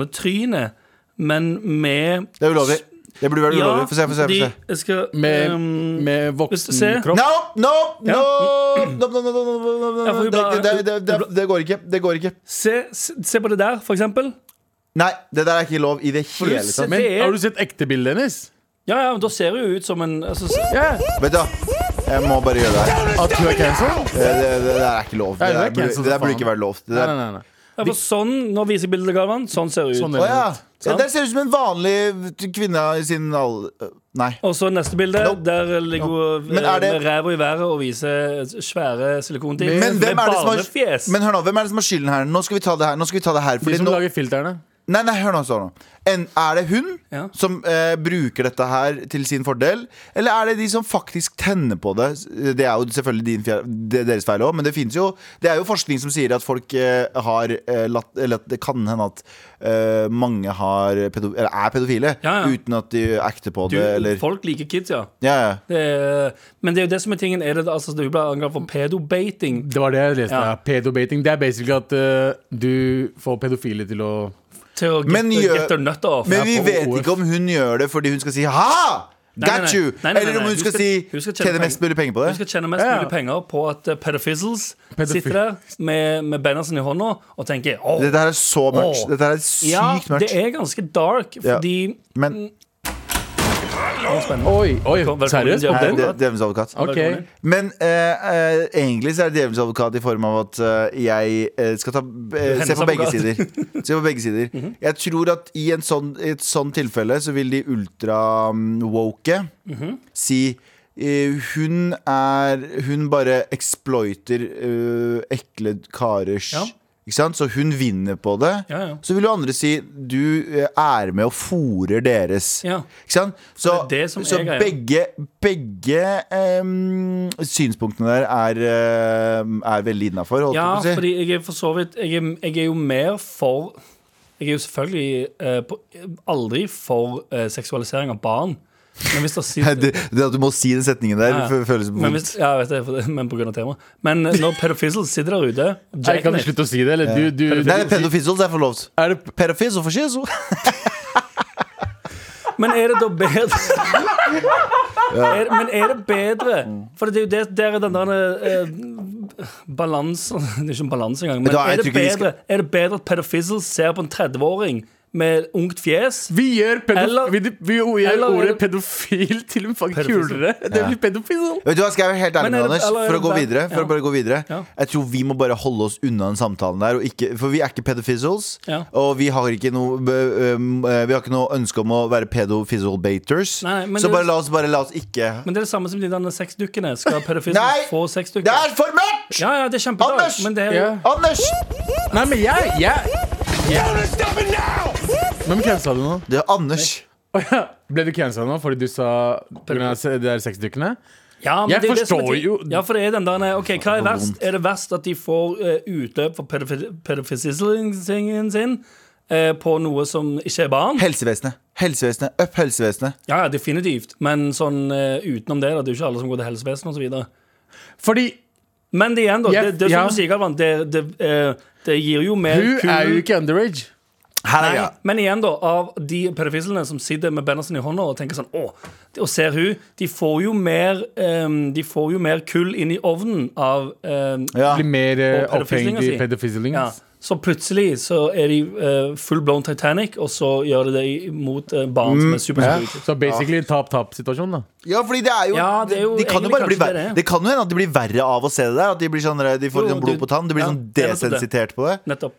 [SPEAKER 2] barnetrynet Men med
[SPEAKER 3] Det er ulovlig. Det burde være ulovlig. Få se, få se.
[SPEAKER 2] de,
[SPEAKER 3] Få se.
[SPEAKER 2] jeg skal,
[SPEAKER 4] Med,
[SPEAKER 2] ehm,
[SPEAKER 4] med
[SPEAKER 2] hvis du ser-
[SPEAKER 4] voksen kropp.
[SPEAKER 3] No, no, no,
[SPEAKER 2] Ja.
[SPEAKER 3] no, no, no, no, no, no,
[SPEAKER 2] Ja,
[SPEAKER 3] no.
[SPEAKER 2] for vi
[SPEAKER 3] Det,
[SPEAKER 2] bare-
[SPEAKER 3] det, det, det, det går ikke. Det går ikke.
[SPEAKER 2] se, se se på det der, for eksempel
[SPEAKER 3] Nei, det der er ikke lov i det
[SPEAKER 2] du
[SPEAKER 3] hele
[SPEAKER 2] ser-
[SPEAKER 3] tatt.
[SPEAKER 4] Men
[SPEAKER 2] Det er-
[SPEAKER 4] har du sett ekte bildet hennes?
[SPEAKER 2] Ja, ja, men da ser hun ut som en altså,
[SPEAKER 4] Ja!
[SPEAKER 3] Vet du hva, jeg må bare gjøre det her.
[SPEAKER 4] At hun er cancelled?
[SPEAKER 3] Det, det, det der er ikke lov. Det
[SPEAKER 4] Nei, det er
[SPEAKER 3] der burde,
[SPEAKER 4] cancel,
[SPEAKER 3] det der
[SPEAKER 4] for
[SPEAKER 3] burde
[SPEAKER 4] faen.
[SPEAKER 3] ikke være lov. Det
[SPEAKER 4] Nei,
[SPEAKER 3] der
[SPEAKER 4] nei, nei, nei.
[SPEAKER 2] ja, for Sånn, nå viser jeg bildet av han Sånn ser hun ut
[SPEAKER 4] Sånn
[SPEAKER 3] Å
[SPEAKER 4] er
[SPEAKER 3] ja.
[SPEAKER 4] det.
[SPEAKER 3] ja.
[SPEAKER 2] Sant?
[SPEAKER 3] Der ser ut som en vanlig kvinne i sin alder Nei.
[SPEAKER 2] Og så neste bilde.
[SPEAKER 3] Nope.
[SPEAKER 2] Der ligger hun
[SPEAKER 3] Men er
[SPEAKER 2] eh, med
[SPEAKER 3] det-
[SPEAKER 2] ræva i været og viser svære silikonting.
[SPEAKER 3] Men hvem er det som har
[SPEAKER 2] barnefjes.
[SPEAKER 3] Men hør nå, hvem er det som har skylden her? Nå skal vi ta det her. Nå skal vi ta det her
[SPEAKER 4] De
[SPEAKER 3] fordi
[SPEAKER 4] som
[SPEAKER 3] nå,
[SPEAKER 4] lager filterne.
[SPEAKER 3] Nei, nei, hør nå. Så, nå. En, er det hun
[SPEAKER 2] Ja.
[SPEAKER 3] som eh, bruker dette her til sin fordel, eller er det de som faktisk tenner på det? Det er jo selvfølgelig din, fjer- det er deres feil òg, men det finnes jo Det er jo forskning som sier at folk eh, har eh, latt Eller at det kan hende at eh, mange har pedo, eller er pedofile
[SPEAKER 2] Ja, ja.
[SPEAKER 3] uten at de acter på
[SPEAKER 2] Du,
[SPEAKER 3] det, eller
[SPEAKER 2] Folk liker kids, ja.
[SPEAKER 3] ja, ja.
[SPEAKER 2] Det er, men det er jo det som er tingen. Er det, altså, du ble angrepet for pedobating.
[SPEAKER 4] Det var det jeg leste.
[SPEAKER 2] Ja.
[SPEAKER 4] Ja. Pedobating. Det er basically at eh, du får pedofile til å
[SPEAKER 2] Til å get,
[SPEAKER 3] Men gjør-
[SPEAKER 2] get their nut off.
[SPEAKER 3] Men vi
[SPEAKER 4] på
[SPEAKER 3] vet
[SPEAKER 4] OF.
[SPEAKER 3] ikke om hun gjør det fordi hun skal si ha!
[SPEAKER 2] Nei, nei,
[SPEAKER 3] Got
[SPEAKER 2] nei.
[SPEAKER 3] you!
[SPEAKER 2] Nei, nei, nei,
[SPEAKER 3] Eller om
[SPEAKER 2] nei.
[SPEAKER 3] hun skal,
[SPEAKER 2] hun
[SPEAKER 3] si
[SPEAKER 2] skal tjene
[SPEAKER 3] tjene
[SPEAKER 2] penger.
[SPEAKER 3] mest mulig penger på
[SPEAKER 2] Du
[SPEAKER 3] det.
[SPEAKER 2] skal tjene mest
[SPEAKER 4] Ja, ja.
[SPEAKER 2] mulig penger på at eh, pedophils
[SPEAKER 4] Pedofil.
[SPEAKER 2] sitter der med, med bannersen i hånda og tenker Åh,
[SPEAKER 3] Dette her er så mørkt.
[SPEAKER 2] Åh.
[SPEAKER 3] Dette her er
[SPEAKER 2] ja,
[SPEAKER 3] sykt
[SPEAKER 2] det
[SPEAKER 3] mørkt.
[SPEAKER 2] er Mm. ganske dark,
[SPEAKER 3] Ja.
[SPEAKER 2] fordi
[SPEAKER 3] Men
[SPEAKER 4] Oi, oi,
[SPEAKER 2] Velkommen,
[SPEAKER 4] seriøst?
[SPEAKER 2] Jacob.
[SPEAKER 3] Nei,
[SPEAKER 2] den?
[SPEAKER 3] det er Djevelens advokat.
[SPEAKER 4] Ok.
[SPEAKER 2] Velkommen.
[SPEAKER 3] Men eh, eh, egentlig så er det djevelens advokat i form av at eh, jeg eh, skal ta, eh,
[SPEAKER 2] Hennes
[SPEAKER 3] se på
[SPEAKER 2] advokat.
[SPEAKER 3] begge
[SPEAKER 2] Mhm.
[SPEAKER 3] sider. Se på begge sider Jeg tror at i en sånn, i et sånn tilfelle så vil de ultra-woke
[SPEAKER 2] Mhm.
[SPEAKER 3] si eh, hun er Hun bare exploiter eh, ekle karers
[SPEAKER 2] Ja.
[SPEAKER 3] Ikke sant? Så hun vinner på det.
[SPEAKER 2] Ja, ja.
[SPEAKER 3] Så vil jo andre si du eh, er med og fòrer deres.
[SPEAKER 2] Ja.
[SPEAKER 3] Ikke sant? Så,
[SPEAKER 2] det er det som
[SPEAKER 3] så
[SPEAKER 2] er greia.
[SPEAKER 3] begge, begge em, synspunktene der er, em, er veldig innafor.
[SPEAKER 2] Ja,
[SPEAKER 3] si.
[SPEAKER 2] fordi jeg er for så vidt Jeg er, jeg er jo mer for Jeg er jo selvfølgelig eh, på, aldri for eh, seksualisering av barn. Men hvis det sitter
[SPEAKER 3] det, det at du må si den setningen der,
[SPEAKER 2] Ja.
[SPEAKER 3] fø- føles
[SPEAKER 2] Men,
[SPEAKER 3] vondt.
[SPEAKER 2] hvis, ja, jeg vet det, for det, men på grunn av temaet. Men eh, når pedophils sitter der ute
[SPEAKER 4] Nei, kan du slutte å si det? Eller du, du,
[SPEAKER 3] Nei, pedofizzles er forlovt.
[SPEAKER 4] Er det
[SPEAKER 3] Pedofizzo for shizo.
[SPEAKER 2] Men er det da bedre er, Men er det bedre For det er jo det der er den der eh, balansen Det er ikke en balanse engang. Men
[SPEAKER 3] Da, jeg
[SPEAKER 2] er det,
[SPEAKER 3] tror ikke vi skal-
[SPEAKER 2] bedre, er det bedre at pedophils ser på en 30-åring med ungt fjes?
[SPEAKER 4] Vi gjør, pedof
[SPEAKER 2] Eller-
[SPEAKER 4] vi, vi gjør
[SPEAKER 2] eller-
[SPEAKER 4] ordet pedofil til en fucking
[SPEAKER 2] Pedofil.
[SPEAKER 4] kulere. Det blir pedofil.
[SPEAKER 3] Vet du hva, Skal jeg være helt ærlig
[SPEAKER 2] Men
[SPEAKER 3] med
[SPEAKER 2] er det-
[SPEAKER 3] Anders
[SPEAKER 2] eller-
[SPEAKER 3] For å gå videre, for
[SPEAKER 2] Ja.
[SPEAKER 3] å bare gå videre
[SPEAKER 2] Ja.
[SPEAKER 3] Jeg tror vi må bare holde oss unna den samtalen der og ikke, For vi er ikke pedofizzles
[SPEAKER 2] Ja.
[SPEAKER 3] Og vi har ikke noe eh, em, eh, Vi har ikke noe ønske om å være pedofizzle-baters Så
[SPEAKER 2] Nei, nei, men det-
[SPEAKER 3] bare la oss, bare la oss ikke
[SPEAKER 2] Men det er det samme som de der sexdukkene. Skal
[SPEAKER 3] Nei!
[SPEAKER 2] pedophils få
[SPEAKER 3] Det
[SPEAKER 2] sexdukker?
[SPEAKER 3] er for mørkt!
[SPEAKER 2] Ja, ja, det er kjempedark.
[SPEAKER 3] Anders!
[SPEAKER 2] Men det er
[SPEAKER 4] Ja.
[SPEAKER 3] Anders!
[SPEAKER 4] Nei, men jeg, jeg. Hvem cancela du nå?
[SPEAKER 3] Det er Anders.
[SPEAKER 4] Å ja. Ble du cancela nå fordi du sa på grunn av se- det er sexdukkene?
[SPEAKER 2] Ja, men
[SPEAKER 4] Jeg
[SPEAKER 2] det er det som er
[SPEAKER 4] forstår
[SPEAKER 2] ting-
[SPEAKER 4] jo-
[SPEAKER 2] Ja, for det er den der nei, Ok, hva er verst? Er det verst at de får eh, utløp for pedofi- pedofiseringen sin eh, på noe som ikke er barn?
[SPEAKER 3] Helsevesenet. Helsevesenet. Up helsevesenet.
[SPEAKER 2] Ja, ja, definitivt. Men sånn eh, utenom det, da. Det er jo ikke alle som går til helsevesenet og så videre
[SPEAKER 4] Fordi
[SPEAKER 2] Men det igjen, da.
[SPEAKER 4] Ja,
[SPEAKER 2] Det, det er
[SPEAKER 4] ja.
[SPEAKER 2] som du sier, Galvan. Det, det, eh, det gir jo mer
[SPEAKER 4] hun
[SPEAKER 2] kul-
[SPEAKER 4] er jo ikke underage.
[SPEAKER 3] Her er
[SPEAKER 2] Nei,
[SPEAKER 3] greia.
[SPEAKER 2] men igjen, da, av de pedofislene som sitter med Bennersen i hånda og tenker sånn Å, og ser hun, de får jo mer, eh, de får jo mer kull inn i ovnen av eh,
[SPEAKER 3] Ja.
[SPEAKER 4] Blir mer eh,
[SPEAKER 2] Og pedofislinga
[SPEAKER 4] opphengt i
[SPEAKER 2] si. Ja,
[SPEAKER 4] pedofilings.
[SPEAKER 2] så plutselig så er de eh, full blown Titanic, og så gjør de det i- mot eh, barn
[SPEAKER 3] Mm,
[SPEAKER 2] som er
[SPEAKER 4] Ja.
[SPEAKER 2] superskurke.
[SPEAKER 4] Så basically tap-tap-situasjon, da.
[SPEAKER 3] ja, fordi det er jo,
[SPEAKER 2] Ja, det er jo
[SPEAKER 3] de, kan jo
[SPEAKER 2] egentlig
[SPEAKER 3] bare bli
[SPEAKER 2] kanskje
[SPEAKER 3] verre.
[SPEAKER 2] det
[SPEAKER 3] Det,
[SPEAKER 2] det er.
[SPEAKER 3] kan jo hende at de blir verre av å se det der. At de, blir sånn, de får
[SPEAKER 2] Jo,
[SPEAKER 3] sånn blod
[SPEAKER 2] du-
[SPEAKER 3] på tann. De blir
[SPEAKER 2] ja,
[SPEAKER 3] sånn
[SPEAKER 2] det er nettopp det.
[SPEAKER 3] desensitert på det.
[SPEAKER 2] Nettopp.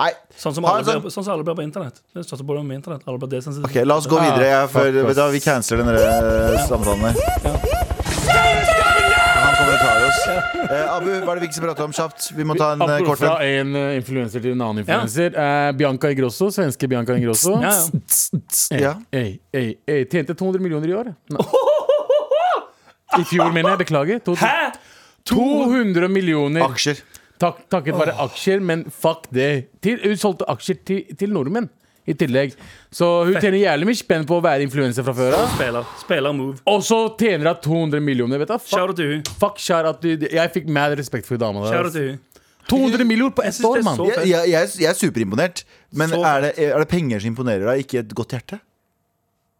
[SPEAKER 3] Nei.
[SPEAKER 2] Sånn som,
[SPEAKER 3] Ha
[SPEAKER 2] alle
[SPEAKER 3] en sånn-
[SPEAKER 2] blir, sånn som alle blir på internett. Det er største problemet med internett. Alle blir desensitive.
[SPEAKER 3] Ok, La oss gå
[SPEAKER 4] Ah,
[SPEAKER 3] videre. Jeg, for,
[SPEAKER 4] fuck,
[SPEAKER 3] vet du, hva, vi canceler den der, eh, samtalen der. Han kommer og tar oss. Eh, Abu, hva er det vi ikke skal prate om kjapt? Vi må ta en eh,
[SPEAKER 4] Apropos
[SPEAKER 3] kort
[SPEAKER 4] fra
[SPEAKER 3] en.
[SPEAKER 4] en eh, influenser til en annen influenser. Eh, Bianca Ingrosso, svenske Bianca Ingrosso.
[SPEAKER 2] Ja, ja.
[SPEAKER 4] Ey,
[SPEAKER 3] Ja.
[SPEAKER 4] ey, ey, ey, tjente 200 millioner i år. Nei. I fjor, mener jeg. Beklager. To- 200 millioner
[SPEAKER 3] Aksjer.
[SPEAKER 4] tak, takket være aksjer, men fuck det. Til, hun solgte aksjer til, til nordmenn i tillegg. Så hun tjener jævlig mye spenn på å være influenser fra før av.
[SPEAKER 2] Spiller. Spiller move.
[SPEAKER 4] Og så tjener hun 200 millioner. Vet du. Fuck,
[SPEAKER 2] Shout out til hun.
[SPEAKER 4] fuck shout out til- Jeg fikk mad respekt for dama der.
[SPEAKER 2] Shout out
[SPEAKER 4] ass.
[SPEAKER 2] til hun.
[SPEAKER 4] 200 millioner på ett
[SPEAKER 2] synes
[SPEAKER 4] år,
[SPEAKER 2] det er
[SPEAKER 4] mann!
[SPEAKER 2] så-
[SPEAKER 3] Jeg, jeg, jeg, jeg er superimponert. Men
[SPEAKER 2] Så
[SPEAKER 3] er det, er det penger som imponerer deg, ikke et godt hjerte?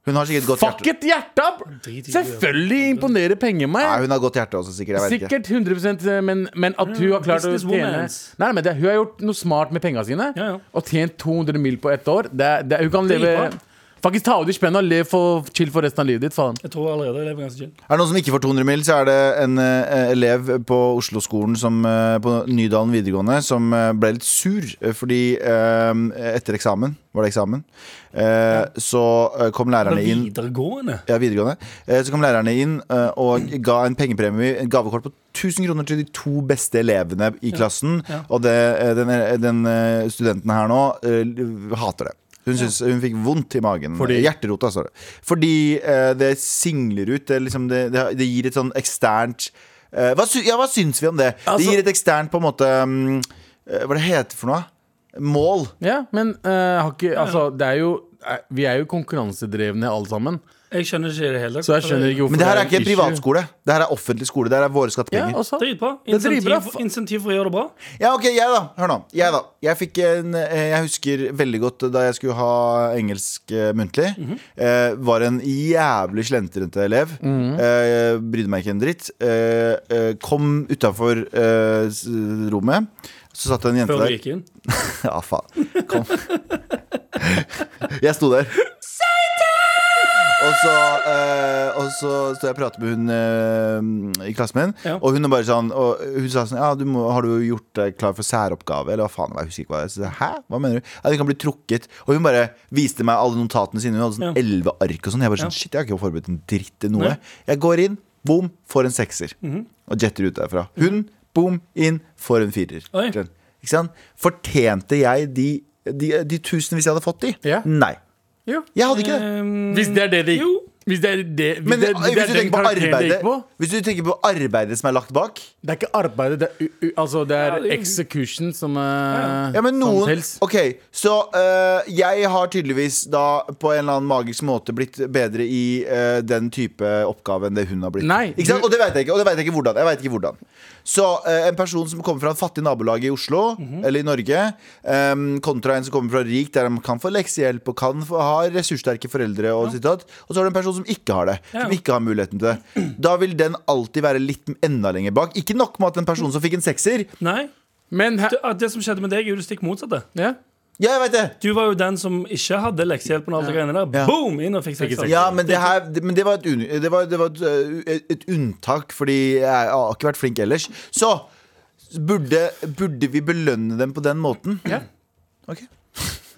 [SPEAKER 3] Hun har sikkert et godt hjerte.
[SPEAKER 4] Fuck et hjerte! bro.
[SPEAKER 2] Drit i det.
[SPEAKER 4] Selvfølgelig imponerer penger meg.
[SPEAKER 3] Nei, hun har godt hjerte også, sikkert. Jeg vet ikke.
[SPEAKER 4] Sikkert 100 men, men at hun har klart å tjene
[SPEAKER 2] businesswoman.
[SPEAKER 4] Nei, men det, Hun har gjort noe smart med pengene sine
[SPEAKER 2] Ja, ja.
[SPEAKER 4] og tjent 200 mil på ett år. Det, er- det, er- hun kan
[SPEAKER 2] Det er
[SPEAKER 4] leve
[SPEAKER 2] bra.
[SPEAKER 4] Faktisk ta ut de spennene og lev for, chill for resten av livet ditt. Faen.
[SPEAKER 2] Jeg tror allerede jeg lever ganske chill.
[SPEAKER 3] Er det noen som ikke får 200 mil, så er det en eh, elev på Oslo-skolen som, eh, på Nydalen videregående som eh, ble litt sur eh, fordi eh, etter eksamen, var det eksamen, eh, så eh, kom lærerne inn
[SPEAKER 2] Videregående.
[SPEAKER 3] ja, videregående. Eh, Så kom lærerne inn eh, og ga en pengepremie, en gavekort på 1000 kroner til de to beste elevene i klassen.
[SPEAKER 2] ja.
[SPEAKER 3] Og det, eh, den, den eh, studenten her nå eh, hater det. Hun, syntes- hun fikk vondt i magen.
[SPEAKER 4] Fordi-
[SPEAKER 3] Hjerterota, står det. Fordi eh, det singler ut. Det, er liksom, det, det, det gir et sånn eksternt eh, hva, sy ja, hva syns vi om det?
[SPEAKER 4] Altså-
[SPEAKER 3] det gir et eksternt på en måte mm, eh, Hva det heter for noe? Mål.
[SPEAKER 4] Ja, men eh, har ikke, altså, det er jo eh, Vi er jo konkurransedrevne alle sammen.
[SPEAKER 2] Jeg skjønner ikke i det hele
[SPEAKER 4] Så jeg skjønner ikke hvorfor
[SPEAKER 3] Men det her er
[SPEAKER 4] en
[SPEAKER 3] ikke en
[SPEAKER 4] issue.
[SPEAKER 3] privatskole. Det her er offentlig skole. Det her er våre
[SPEAKER 4] Ja,
[SPEAKER 3] skattepenger.
[SPEAKER 4] også.
[SPEAKER 2] Dritbra.
[SPEAKER 4] Det er dritbra.
[SPEAKER 2] Insentiv, insentiv for å gjøre det bra.
[SPEAKER 3] Ja, ok, jeg da, hør nå Jeg, da. jeg, fikk en, eh, jeg husker veldig godt da jeg skulle ha engelsk eh, muntlig
[SPEAKER 2] Mhm.
[SPEAKER 3] eh, Var en jævlig slentrente elev
[SPEAKER 2] Mhm.
[SPEAKER 3] eh, Brydde meg ikke en dritt eh, eh, Kom utenfor eh, s- rommet Så satt det en jente
[SPEAKER 2] Før du
[SPEAKER 3] der
[SPEAKER 2] gikk inn.
[SPEAKER 3] Ja, faen, kom Jeg sto der og så, eh, og så står jeg og prater med hun eh, i klassen min,
[SPEAKER 2] Ja.
[SPEAKER 3] og hun er bare sånn og Hun sa sånn Ja, du må, har du gjort deg klar for særoppgave, eller hva faen? det var, Jeg husker ikke hva det er. Så jeg, Hæ? Hva mener du? Ja, du kan bli trukket. Og hun bare viste meg alle notatene sine. Hun hadde sånn
[SPEAKER 2] Ja.
[SPEAKER 3] elleve ark og sånn. Jeg bare sånn Shit, jeg har ikke forberedt en dritt til noe. Jeg går inn, boom, får en sekser.
[SPEAKER 2] Mhm.
[SPEAKER 3] Og jetter ut derfra. Hun, boom, inn, får en firer.
[SPEAKER 2] Oi.
[SPEAKER 3] Skjønner. Ikke sant? Fortjente jeg de, de, de tusenvis jeg hadde fått i?
[SPEAKER 4] Ja.
[SPEAKER 3] Nei.
[SPEAKER 4] Jo.
[SPEAKER 3] Jeg hadde ikke det.
[SPEAKER 2] Ehm,
[SPEAKER 4] Hvis det er det det gikk
[SPEAKER 2] Jo.
[SPEAKER 4] Hvis det er det hvis
[SPEAKER 3] Men eh,
[SPEAKER 4] det, hvis det er
[SPEAKER 3] hvis, du
[SPEAKER 4] den
[SPEAKER 3] tenker på
[SPEAKER 4] karakteren det
[SPEAKER 3] arbeidet,
[SPEAKER 4] gikk på
[SPEAKER 3] hvis du tenker på arbeidet som er lagt bak
[SPEAKER 4] Det er ikke arbeidet, det er, u, u, altså det
[SPEAKER 2] Ja,
[SPEAKER 4] er
[SPEAKER 2] det-
[SPEAKER 4] execution som eh,
[SPEAKER 3] ja, men
[SPEAKER 4] Som
[SPEAKER 3] noen,
[SPEAKER 4] tels.
[SPEAKER 3] Ok, Så øh, jeg har tydeligvis da på en eller annen magisk måte blitt bedre i øh, den type oppgave enn det hun har blitt.
[SPEAKER 4] Nei,
[SPEAKER 3] ikke sant?
[SPEAKER 4] du-
[SPEAKER 3] Og det vet jeg ikke. Og det vet jeg ikke hvordan. Jeg vet ikke hvordan. Så øh, en person som kommer fra et fattig nabolag i Oslo,
[SPEAKER 4] Mhm.
[SPEAKER 3] eller i Norge, øhm, kontra en som kommer fra rik, der de kan få leksehjelp og kan få, ha ressurssterke foreldre, og, sitt og datt, og så har du en person som ikke har det. Som ikke har muligheten til det. Da vil den alltid være litt enda lenger bak. Ikke nok med at en person som fikk en sekser
[SPEAKER 2] Nei.
[SPEAKER 4] Men her,
[SPEAKER 2] Det, det som skjedde med deg, er jo det stikk motsatte.
[SPEAKER 4] ja.
[SPEAKER 3] Ja, jeg vet det!
[SPEAKER 2] Du var jo den som ikke hadde leksehjelpen. og alt det greiene der
[SPEAKER 3] Ja.
[SPEAKER 2] Boom! Inn og fikk
[SPEAKER 4] Fikk
[SPEAKER 2] sekser.
[SPEAKER 4] sekser.
[SPEAKER 3] Ja, men det, her, det- men det var, et, un, det var, det var et, ø, et unntak, fordi jeg har ikke vært flink ellers. Så burde, burde vi belønne dem på den måten?
[SPEAKER 4] Ja.
[SPEAKER 3] Ok.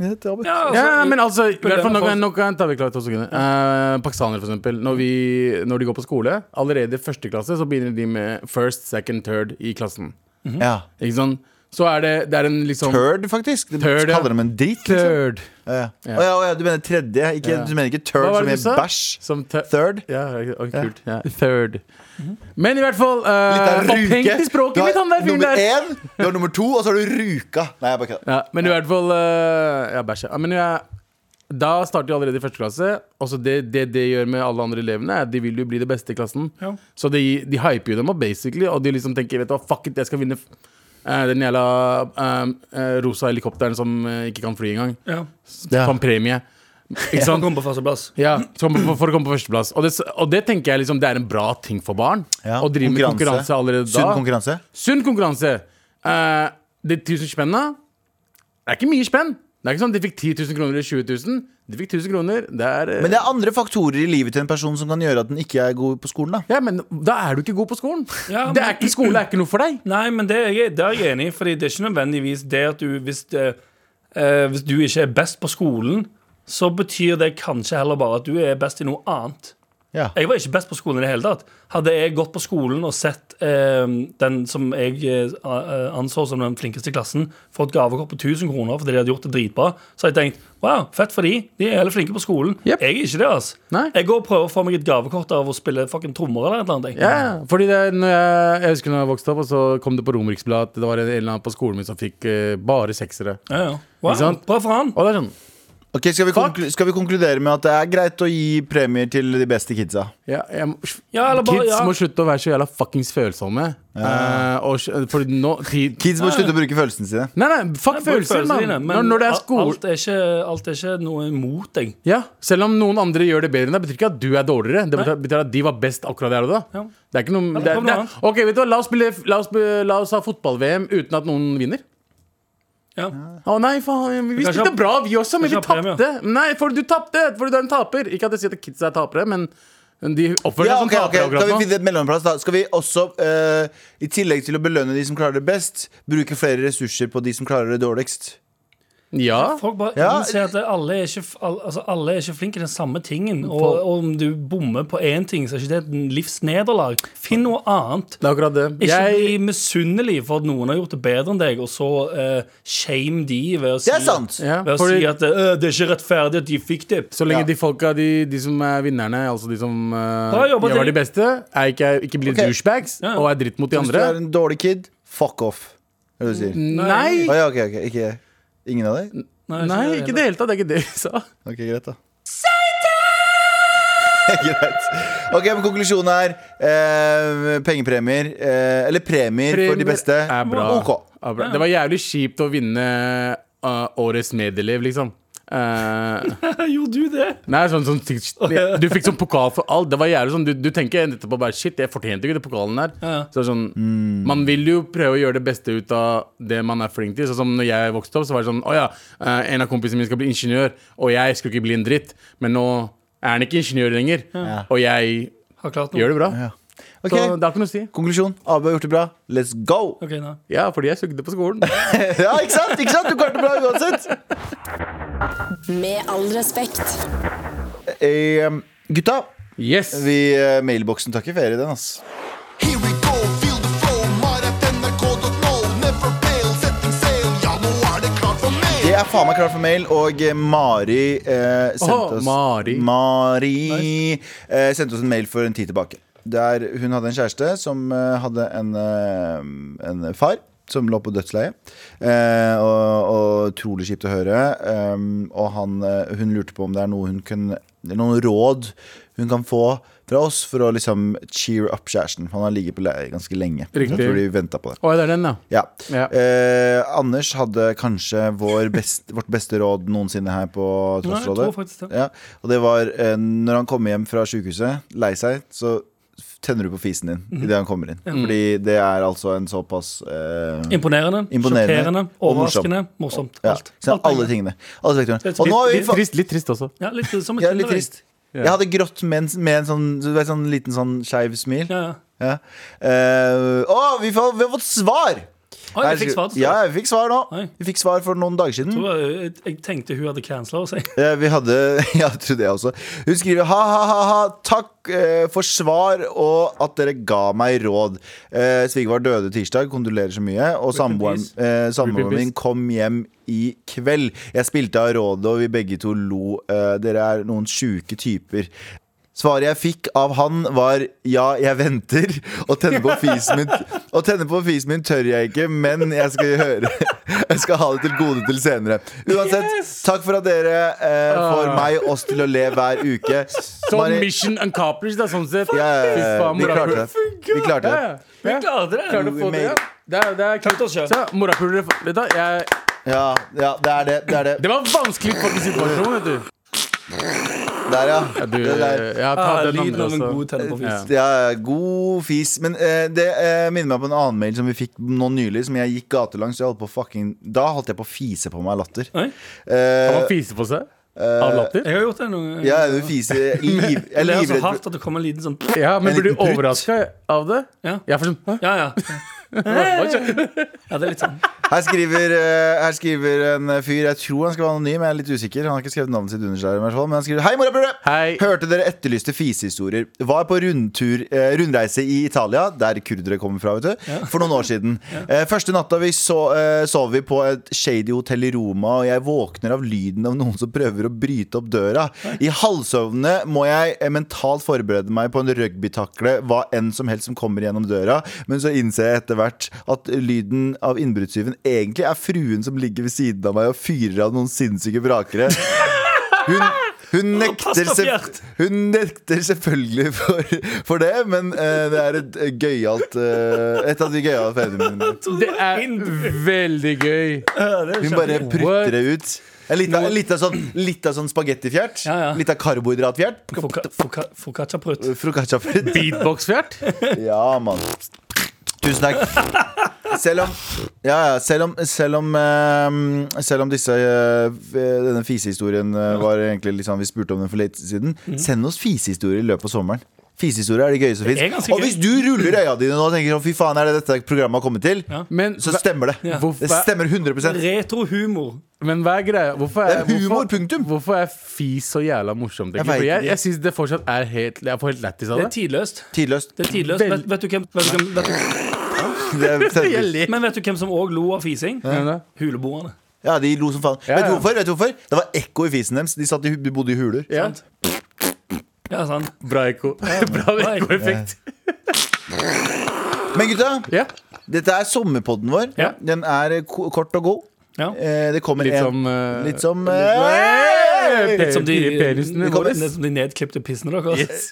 [SPEAKER 3] Det er bra.
[SPEAKER 2] Ja, altså,
[SPEAKER 4] ja, men altså i hvert fall
[SPEAKER 2] Belønner
[SPEAKER 4] Nå
[SPEAKER 2] folk.
[SPEAKER 4] kan- nå kan ta vi klart også, Gunnar. Eh, Pakistanere for eksempel når, vi, når de går på skole Allerede i første klasse så begynner de med First, second, third i klassen
[SPEAKER 3] Mhm. Ja.
[SPEAKER 4] Ikke sant? Så er det, det er en liksom
[SPEAKER 3] Turd, faktisk. Du
[SPEAKER 4] Turd, ja.
[SPEAKER 3] kaller dem en dritt. Liksom.
[SPEAKER 4] Third
[SPEAKER 3] Ja. ja. Å ja, å ja, du mener tredje? Ikke,
[SPEAKER 4] Ja.
[SPEAKER 3] Du mener ikke
[SPEAKER 4] Hva
[SPEAKER 3] turd
[SPEAKER 4] var
[SPEAKER 3] som
[SPEAKER 4] det
[SPEAKER 3] i
[SPEAKER 4] du sa?
[SPEAKER 3] bæsj?
[SPEAKER 4] Som third
[SPEAKER 3] Third?
[SPEAKER 4] Ja, ok, ok, kult. Ja. Third. Men i hvert fall eh,
[SPEAKER 3] Litt av
[SPEAKER 4] og Tenk
[SPEAKER 3] ruke.
[SPEAKER 4] til
[SPEAKER 3] Du
[SPEAKER 4] språket
[SPEAKER 3] har
[SPEAKER 4] mitt, han der fyren
[SPEAKER 3] nummer
[SPEAKER 4] der!
[SPEAKER 3] én, du har nummer to, og så har du ruka. Nei, jeg bare kødder.
[SPEAKER 4] Ja, men i hvert fall eh, Ja, bæsja. Ja, Men jeg, da starter jeg allerede i første klasse. Også det, det det gjør med alle andre elevene, er at de vil jo bli det beste i klassen.
[SPEAKER 2] Ja.
[SPEAKER 4] Så de, de hyper jo dem opp, basically, og de liksom tenker Vet du hva, fuck it, jeg skal vinne f- eh, den jævla eh, eh, rosa helikopteren som eh, ikke kan fly engang.
[SPEAKER 2] Ja.
[SPEAKER 3] Ja.
[SPEAKER 4] Som premie. Ikke
[SPEAKER 2] Han
[SPEAKER 4] sant?
[SPEAKER 2] kom på førsteplass.
[SPEAKER 4] Ja, som- for, for å komme på førsteplass. Og det, og det tenker jeg liksom, det er en bra ting for barn.
[SPEAKER 3] Ja,
[SPEAKER 4] Å drive med konkurranse allerede da.
[SPEAKER 3] Sunn konkurranse.
[SPEAKER 4] Sunn konkurranse. Eh, de 1000 spennene Det er ikke mye spenn. Det er ikke sånn De fikk 10 000 kroner eller 20 000. De fikk 1000 kroner. Det er eh,
[SPEAKER 3] Men det er andre faktorer i livet til en person som kan gjøre at den ikke er god på skolen. da
[SPEAKER 4] Ja, men da er du ikke god på skolen.
[SPEAKER 2] Ja,
[SPEAKER 4] det er
[SPEAKER 2] men-
[SPEAKER 4] ikke, skole er ikke noe for deg.
[SPEAKER 2] Nei, men det er, jeg- det er jeg enig i, Fordi det er ikke nødvendigvis det at du hvis, det, eh, hvis du ikke er best på skolen, så betyr det kanskje heller bare at du er best i noe annet.
[SPEAKER 3] Ja.
[SPEAKER 2] Jeg var ikke best på skolen i det hele tatt. Hadde jeg gått på skolen og sett eh, den som jeg eh, anså som den flinkeste i klassen, få et gavekort på 1000 kroner fordi de hadde gjort det dritbra, så hadde jeg tenkt wow, fett for de, de er heller flinke på skolen.
[SPEAKER 4] Jep.
[SPEAKER 2] Jeg er ikke det, altså.
[SPEAKER 4] Nei.
[SPEAKER 2] Jeg går og prøver å få meg et gavekort av å spille fucking trommer eller noe.
[SPEAKER 4] Ja, fordi det, er- når jeg, jeg husker når jeg vokste opp, og så kom det på Romeriksbladet at det var en eller annen på skolen min som fikk eh, bare seksere.
[SPEAKER 2] Ja, ja. Wow,
[SPEAKER 4] Ikke sant?
[SPEAKER 2] bra for han.
[SPEAKER 4] Og det er sånn
[SPEAKER 3] Ok, skal vi, konklu- skal vi konkludere med at det er greit å gi premier til de beste kidsa?
[SPEAKER 4] Ja, jeg, må-
[SPEAKER 2] Ja, eller bare-
[SPEAKER 4] kids
[SPEAKER 2] ja.
[SPEAKER 4] må slutte å være så jævla fuckings følsomme. Eh, og, sj- fordi nå tid,
[SPEAKER 3] Kids må slutte å bruke følelsene sine.
[SPEAKER 4] Nei, nei, fuck
[SPEAKER 2] Bruk
[SPEAKER 4] følelser,
[SPEAKER 2] følelsene dine,
[SPEAKER 4] mann.
[SPEAKER 2] Men
[SPEAKER 4] Når, når det er skole
[SPEAKER 2] alt, er ikke, alt er ikke noe imot deg.
[SPEAKER 4] ja, Selv om noen andre gjør det bedre enn deg, betyr ikke at du er dårligere. Det betyr, betyr at de var best akkurat der og da.
[SPEAKER 2] Ja.
[SPEAKER 4] Det er ikke noe det,
[SPEAKER 2] det
[SPEAKER 4] er-
[SPEAKER 2] kommer
[SPEAKER 4] det,
[SPEAKER 2] noe
[SPEAKER 4] er- Ok, vet du hva, la oss, spille, la oss, be- la oss ha fotball-VM uten at noen vinner.
[SPEAKER 2] Ja.
[SPEAKER 4] Å nei, faen, vi
[SPEAKER 2] Kanskje
[SPEAKER 4] spilte
[SPEAKER 2] ha-
[SPEAKER 4] bra, vi også, men vi
[SPEAKER 2] kanskje ha premie.
[SPEAKER 4] tapte. Nei, for du tapte! Fordi du er en taper. Ikke at jeg sier at kidsa er tapere, men de oppfører seg
[SPEAKER 3] Ja,
[SPEAKER 4] som
[SPEAKER 3] ok, ok,
[SPEAKER 4] tapere
[SPEAKER 3] Skal vi
[SPEAKER 4] akkurat nå.
[SPEAKER 3] finne et mellomplass, da? Skal vi også, eh, i tillegg til å belønne de som klarer det best, bruke flere ressurser på de som klarer det dårligst?
[SPEAKER 4] Ja.
[SPEAKER 2] Folk bare
[SPEAKER 3] Ja.
[SPEAKER 2] innser at alle er, ikke, al- altså, alle er ikke flinke i den samme tingen. Og, og om du bommer på én ting, så er ikke det et livsnederlag. Finn noe annet.
[SPEAKER 4] Det er akkurat
[SPEAKER 2] Ikke
[SPEAKER 4] det.
[SPEAKER 2] bli
[SPEAKER 4] Jeg,
[SPEAKER 2] misunnelig for at noen har gjort det bedre enn deg, og så eh, shame de ved å si,
[SPEAKER 3] Det er sant!
[SPEAKER 4] ja,
[SPEAKER 2] ved å
[SPEAKER 4] fordi,
[SPEAKER 2] si at «Øh, det er ikke rettferdig at de fikk det.
[SPEAKER 4] så lenge
[SPEAKER 3] Ja.
[SPEAKER 4] de folka, de, de som er vinnerne, altså de som eh,
[SPEAKER 2] jobba,
[SPEAKER 4] gjør
[SPEAKER 2] dere.
[SPEAKER 4] de beste, er ikke, ikke blir
[SPEAKER 3] Ok.
[SPEAKER 4] douchebags
[SPEAKER 2] Ja, ja.
[SPEAKER 4] og er dritt mot de
[SPEAKER 3] Hvis du
[SPEAKER 4] andre.
[SPEAKER 3] er en dårlig kid, fuck off. Er det du sier?
[SPEAKER 4] Nei!
[SPEAKER 3] Å ja, ok, ok. Ikke ingen av deg?
[SPEAKER 4] Nei, ikke i det hele tatt. Det er ikke det jeg sa.
[SPEAKER 3] Ok, greit, da. greit. Ok, men konklusjonen er eh, pengepremier. Eh, eller premier, for de beste.
[SPEAKER 4] er bra.
[SPEAKER 3] Ok.
[SPEAKER 4] Er bra. Det var jævlig kjipt å vinne uh, årets medelev, liksom. Eh,
[SPEAKER 2] Gjorde du det?
[SPEAKER 4] nei, sånn, sånn, du fikk sånn pokal for alt. Det var jævlig sånn, Du, du tenker etterpå bare shit, jeg fortjente ikke den pokalen der.
[SPEAKER 2] Ja.
[SPEAKER 4] Så det er sånn,
[SPEAKER 3] Mm.
[SPEAKER 4] Man vil jo prøve å gjøre det beste ut av det man er flink til. Sånn som når jeg vokste opp, så var det sånn Å ja, eh, en av kompisene mine skal bli ingeniør, og jeg skulle ikke bli en dritt. Men nå er han ikke ingeniør lenger, og jeg
[SPEAKER 2] Har klart noe?
[SPEAKER 4] gjør det bra.
[SPEAKER 3] Ja.
[SPEAKER 4] Så det
[SPEAKER 3] Ok,
[SPEAKER 4] har ikke noe å si.
[SPEAKER 3] Konklusjon. Abu har gjort det bra. Let's go!
[SPEAKER 2] Ok, nei.
[SPEAKER 4] Ja, fordi jeg sugde på skolen.
[SPEAKER 3] Ja, ikke sant? Ikke sant? Du klarte det bra uansett.
[SPEAKER 1] Med all respekt.
[SPEAKER 3] Eh, gutta,
[SPEAKER 4] Yes!
[SPEAKER 3] vi, eh, mailboksen tar ikke ferie, den, ass.
[SPEAKER 5] Here we go, feel the flow, maratnrk.no, never fail, setting sail, ja nå er det klart for mail.
[SPEAKER 3] Det er faen meg klart for mail, og eh, Mari eh, sendte
[SPEAKER 4] Åh,
[SPEAKER 3] oss
[SPEAKER 4] Mari.
[SPEAKER 3] Mari, eh, sendte oss en mail for en tid tilbake. Der hun hadde en kjæreste som eh, hadde en, eh, en far som lå på dødsleiet. Eh, og, og utrolig kjipt å høre. Um, og han, eh, hun lurte på om det er noe hun kunne, noen råd hun kan få fra oss for å liksom cheer up kjæresten. Han har ligget på leiet ganske lenge.
[SPEAKER 4] Riktig.
[SPEAKER 3] Jeg tror de ventet på det.
[SPEAKER 4] Å, det er den, ja.
[SPEAKER 3] Ja.
[SPEAKER 4] Ja.
[SPEAKER 3] Eh, Anders hadde kanskje vår best, vårt beste råd noensinne her på
[SPEAKER 2] Nei, jeg
[SPEAKER 3] Trossrådet.
[SPEAKER 2] tror faktisk det.
[SPEAKER 3] Ja. Og det var eh, når han kommer hjem fra sykehuset, lei seg, så tenner du på fisen din
[SPEAKER 2] Mhm.
[SPEAKER 3] idet han kommer inn. Fordi det er altså en såpass eh,
[SPEAKER 2] Imponerende,
[SPEAKER 3] Imponerende
[SPEAKER 2] sjokkerende,
[SPEAKER 3] og morsom.
[SPEAKER 2] overraskende, morsomt.
[SPEAKER 3] ja,
[SPEAKER 2] Alt.
[SPEAKER 3] så
[SPEAKER 2] Alt
[SPEAKER 3] Alle tingene. Alle
[SPEAKER 2] Det
[SPEAKER 3] sektorene.
[SPEAKER 2] er
[SPEAKER 3] Og nå har vi
[SPEAKER 4] Litt
[SPEAKER 3] fa-
[SPEAKER 4] trist, litt trist også.
[SPEAKER 2] Ja, litt som et
[SPEAKER 3] ja, litt
[SPEAKER 2] Tinder-date.
[SPEAKER 3] trist. Jeg hadde grått med en, med en sånn, du vet, sånn liten sånn skeiv smil.
[SPEAKER 2] Ja, ja.
[SPEAKER 3] Ja. Eh, å, vi, får, vi har fått svar!
[SPEAKER 2] Oi, jeg fikk svar.
[SPEAKER 3] Ja, vi fikk svar nå.
[SPEAKER 2] Oi.
[SPEAKER 3] Vi fikk svar for noen dager siden.
[SPEAKER 2] Jeg tror, eh, Jeg jeg tenkte hun hadde cancela seg.
[SPEAKER 3] Eh, Vi hadde Ja, jeg trodde jeg også. Hun skriver ha, ha, ha, ha. Takk eh, for svar og at dere ga meg råd. Eh, Svigerfar døde tirsdag, kondolerer så mye. Og samboeren
[SPEAKER 2] peace.
[SPEAKER 3] eh, samboeren
[SPEAKER 4] peace.
[SPEAKER 3] min kom hjem i kveld. Jeg spilte av rådet, og vi begge to lo. Eh, dere er noen sjuke typer. Svaret jeg fikk av han var ja, jeg venter. Å tenne på fisen min, å tenne på fisen min tør jeg ikke, men jeg skal høre Jeg skal ha det til gode til senere. Uansett, takk for at dere eh,
[SPEAKER 4] Ah.
[SPEAKER 3] får
[SPEAKER 4] Sånn
[SPEAKER 3] meg og oss til å le hver uke.
[SPEAKER 4] Så
[SPEAKER 3] Mari-
[SPEAKER 4] mission accomplished, da, sånn sett.
[SPEAKER 3] ja, ja, ja,
[SPEAKER 4] Fy faen,
[SPEAKER 3] vi klarte
[SPEAKER 4] morapuler.
[SPEAKER 3] det. Vi klarte
[SPEAKER 4] Ja,
[SPEAKER 3] det.
[SPEAKER 4] ja.
[SPEAKER 2] Vi
[SPEAKER 4] Ja.
[SPEAKER 2] klarte det.
[SPEAKER 4] Klarte å få det, ja. Det er, det er
[SPEAKER 2] Takk til
[SPEAKER 4] kult.
[SPEAKER 2] oss selv.
[SPEAKER 4] Så, morapulere Vet du, hva, jeg
[SPEAKER 3] Ja, ja, det er det. Det er det.
[SPEAKER 4] Det var vanskelig for sin situasjon, vet du.
[SPEAKER 3] Der, ja.
[SPEAKER 4] Ja, du
[SPEAKER 3] Det der.
[SPEAKER 4] jeg har
[SPEAKER 2] Ah,
[SPEAKER 4] tatt den
[SPEAKER 2] lyden
[SPEAKER 4] andre
[SPEAKER 2] av en
[SPEAKER 4] også.
[SPEAKER 2] god tennerpåvis.
[SPEAKER 3] Ja, god fis. Men eh, det eh, minner meg på en annen mail som vi fikk nå nylig, som jeg gikk gatelangs. Jeg holdt på å fucking, da holdt jeg på å fise på meg latter.
[SPEAKER 2] Oi,
[SPEAKER 4] Kan
[SPEAKER 3] Eh,
[SPEAKER 4] man fise på seg? Av latter?
[SPEAKER 2] Jeg har gjort det noen ganger.
[SPEAKER 3] ja, du fiser liv, Jeg er
[SPEAKER 2] Jeg
[SPEAKER 4] altså,
[SPEAKER 2] ler så
[SPEAKER 3] livredd
[SPEAKER 2] hardt at det kommer en liten sånn
[SPEAKER 4] Ja, men
[SPEAKER 3] En
[SPEAKER 4] blir du
[SPEAKER 3] liten putt.
[SPEAKER 4] overraska av det?
[SPEAKER 2] Ja,
[SPEAKER 4] Jeg er for sånn Hæ?
[SPEAKER 2] ja. ja.
[SPEAKER 4] Hva skjer?
[SPEAKER 2] ja det er litt sånn.
[SPEAKER 3] her skriver, eh, her skriver en fyr Jeg tror han skal være anonym, jeg er litt usikker Han har ikke skrevet navnet sitt under seg i hvert fall Men han skriver, hei morapulere!
[SPEAKER 4] Hei.
[SPEAKER 3] Hørte dere etterlyste fisehistorier Var på rundtur, eh, rundreise i Italia Der kurdere kommer fra, vet du For noen år siden eh, Første natta vi så, eh, sov vi på et shady hotell i Roma Og jeg våkner av lyden av noen som prøver å bryte opp døra I halvsøvne må jeg eh, mentalt forberede meg på en rugbytakle Hva enn som helst som kommer gjennom døra Men så innser jeg etter hvert at lyden av innbruddstyven egentlig er fruen som ligger ved siden av meg og fyrer av noen sinnssyke vrakere. Hun, hun,
[SPEAKER 2] Ah!
[SPEAKER 3] nekter,
[SPEAKER 2] Pass deg, Bjart.
[SPEAKER 3] selv, hun nekter selvfølgelig for, for det, men eh, det er et gøyalt eh, Et av de gøyale fenomenene mine.
[SPEAKER 4] Det er veldig gøy.
[SPEAKER 2] Ja, det er
[SPEAKER 3] Hun bare
[SPEAKER 4] What?
[SPEAKER 3] prutter det ut. En liten- en liten sånn, litt av sånn spagettifjert.
[SPEAKER 2] Ja, ja.
[SPEAKER 3] Litt av karbohydratfjert.
[SPEAKER 2] Foca- foca- Focaccia-prutt.
[SPEAKER 3] Focacciafrutt.
[SPEAKER 4] Beatbox-fjert?
[SPEAKER 3] Ja, mann. Tusen takk. Selv om, ja, ja, selv om, selv om, eh, selv om disse, eh, denne fisehistorien eh, var egentlig litt sånn vi spurte om den for litt siden, send oss fisehistorier i løpet av sommeren. Fisehistorier er det gøyeste som
[SPEAKER 2] er
[SPEAKER 3] fins.
[SPEAKER 2] ganske
[SPEAKER 3] Og
[SPEAKER 2] gøy.
[SPEAKER 3] hvis du ruller øya dine nå og tenker sånn, fy faen, er det dette programmet har kommet til?
[SPEAKER 2] Ja.
[SPEAKER 4] Men
[SPEAKER 3] Så stemmer det.
[SPEAKER 4] Hvorfor-
[SPEAKER 3] Det stemmer 100
[SPEAKER 2] Retrohumor.
[SPEAKER 4] Men hva er greia? Hvorfor er,
[SPEAKER 3] Det er humor,
[SPEAKER 4] hvorfor-
[SPEAKER 3] punktum.
[SPEAKER 4] Hvorfor er fis så jævla morsomt?
[SPEAKER 3] Jeg
[SPEAKER 4] Jeg,
[SPEAKER 3] vet
[SPEAKER 4] jeg, jeg,
[SPEAKER 3] ikke.
[SPEAKER 4] syns det fortsatt er helt Jeg får helt lættis av
[SPEAKER 2] Det er
[SPEAKER 4] det.
[SPEAKER 2] tidløst.
[SPEAKER 3] Tidløst.
[SPEAKER 2] Det er tidløst. Vet, vet du hvem, vet du hvem, vet du,
[SPEAKER 3] Det er selvtillit.
[SPEAKER 4] ler.
[SPEAKER 2] men vet du hvem som òg lo av fising?
[SPEAKER 4] Hvem da?
[SPEAKER 2] Huleboerne.
[SPEAKER 3] Ja, de lo som faen.
[SPEAKER 4] Ja,
[SPEAKER 3] Vet du
[SPEAKER 4] ja.
[SPEAKER 3] hvorfor? Vet du hvorfor? Det var ekko i fisen deres. De, satt i, de bodde i huler.
[SPEAKER 4] Ja.
[SPEAKER 2] Sant? Ja, sant.
[SPEAKER 4] Bra ekko. Bra ekkoeffekt.
[SPEAKER 3] Men gutta,
[SPEAKER 4] Ja.
[SPEAKER 3] dette er sommerpodden vår.
[SPEAKER 2] Ja.
[SPEAKER 3] Den er eh, ko- kort og god.
[SPEAKER 2] Ja.
[SPEAKER 3] Eh, det kommer
[SPEAKER 4] Litt
[SPEAKER 3] en
[SPEAKER 4] som eh,
[SPEAKER 3] Litt som eh,
[SPEAKER 4] Hey!
[SPEAKER 2] Litt som de,
[SPEAKER 4] Penisene
[SPEAKER 3] kommer-
[SPEAKER 4] våre.
[SPEAKER 2] litt som de nedklipte pissene deres.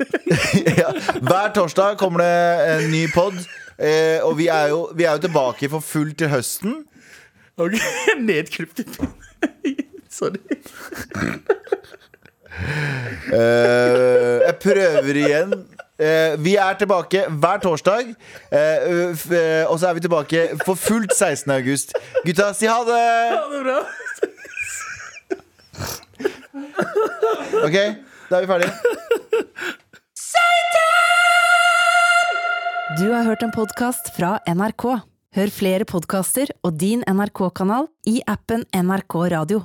[SPEAKER 3] ja. Hver torsdag kommer det en ny pod. Eh, og vi er, jo, vi er jo tilbake for fullt til høsten.
[SPEAKER 4] Ok, Nedklipt. Sorry.
[SPEAKER 3] Eh, jeg prøver igjen. Eh, vi er tilbake hver torsdag. Eh, f- eh, og så er vi tilbake for fullt 16. august. Gutta, si ha det!
[SPEAKER 4] Ha det bra.
[SPEAKER 3] OK, da er vi ferdige.
[SPEAKER 6] Du har hørt en podkast fra NRK. Hør flere podkaster og din NRK-kanal i appen NRK Radio.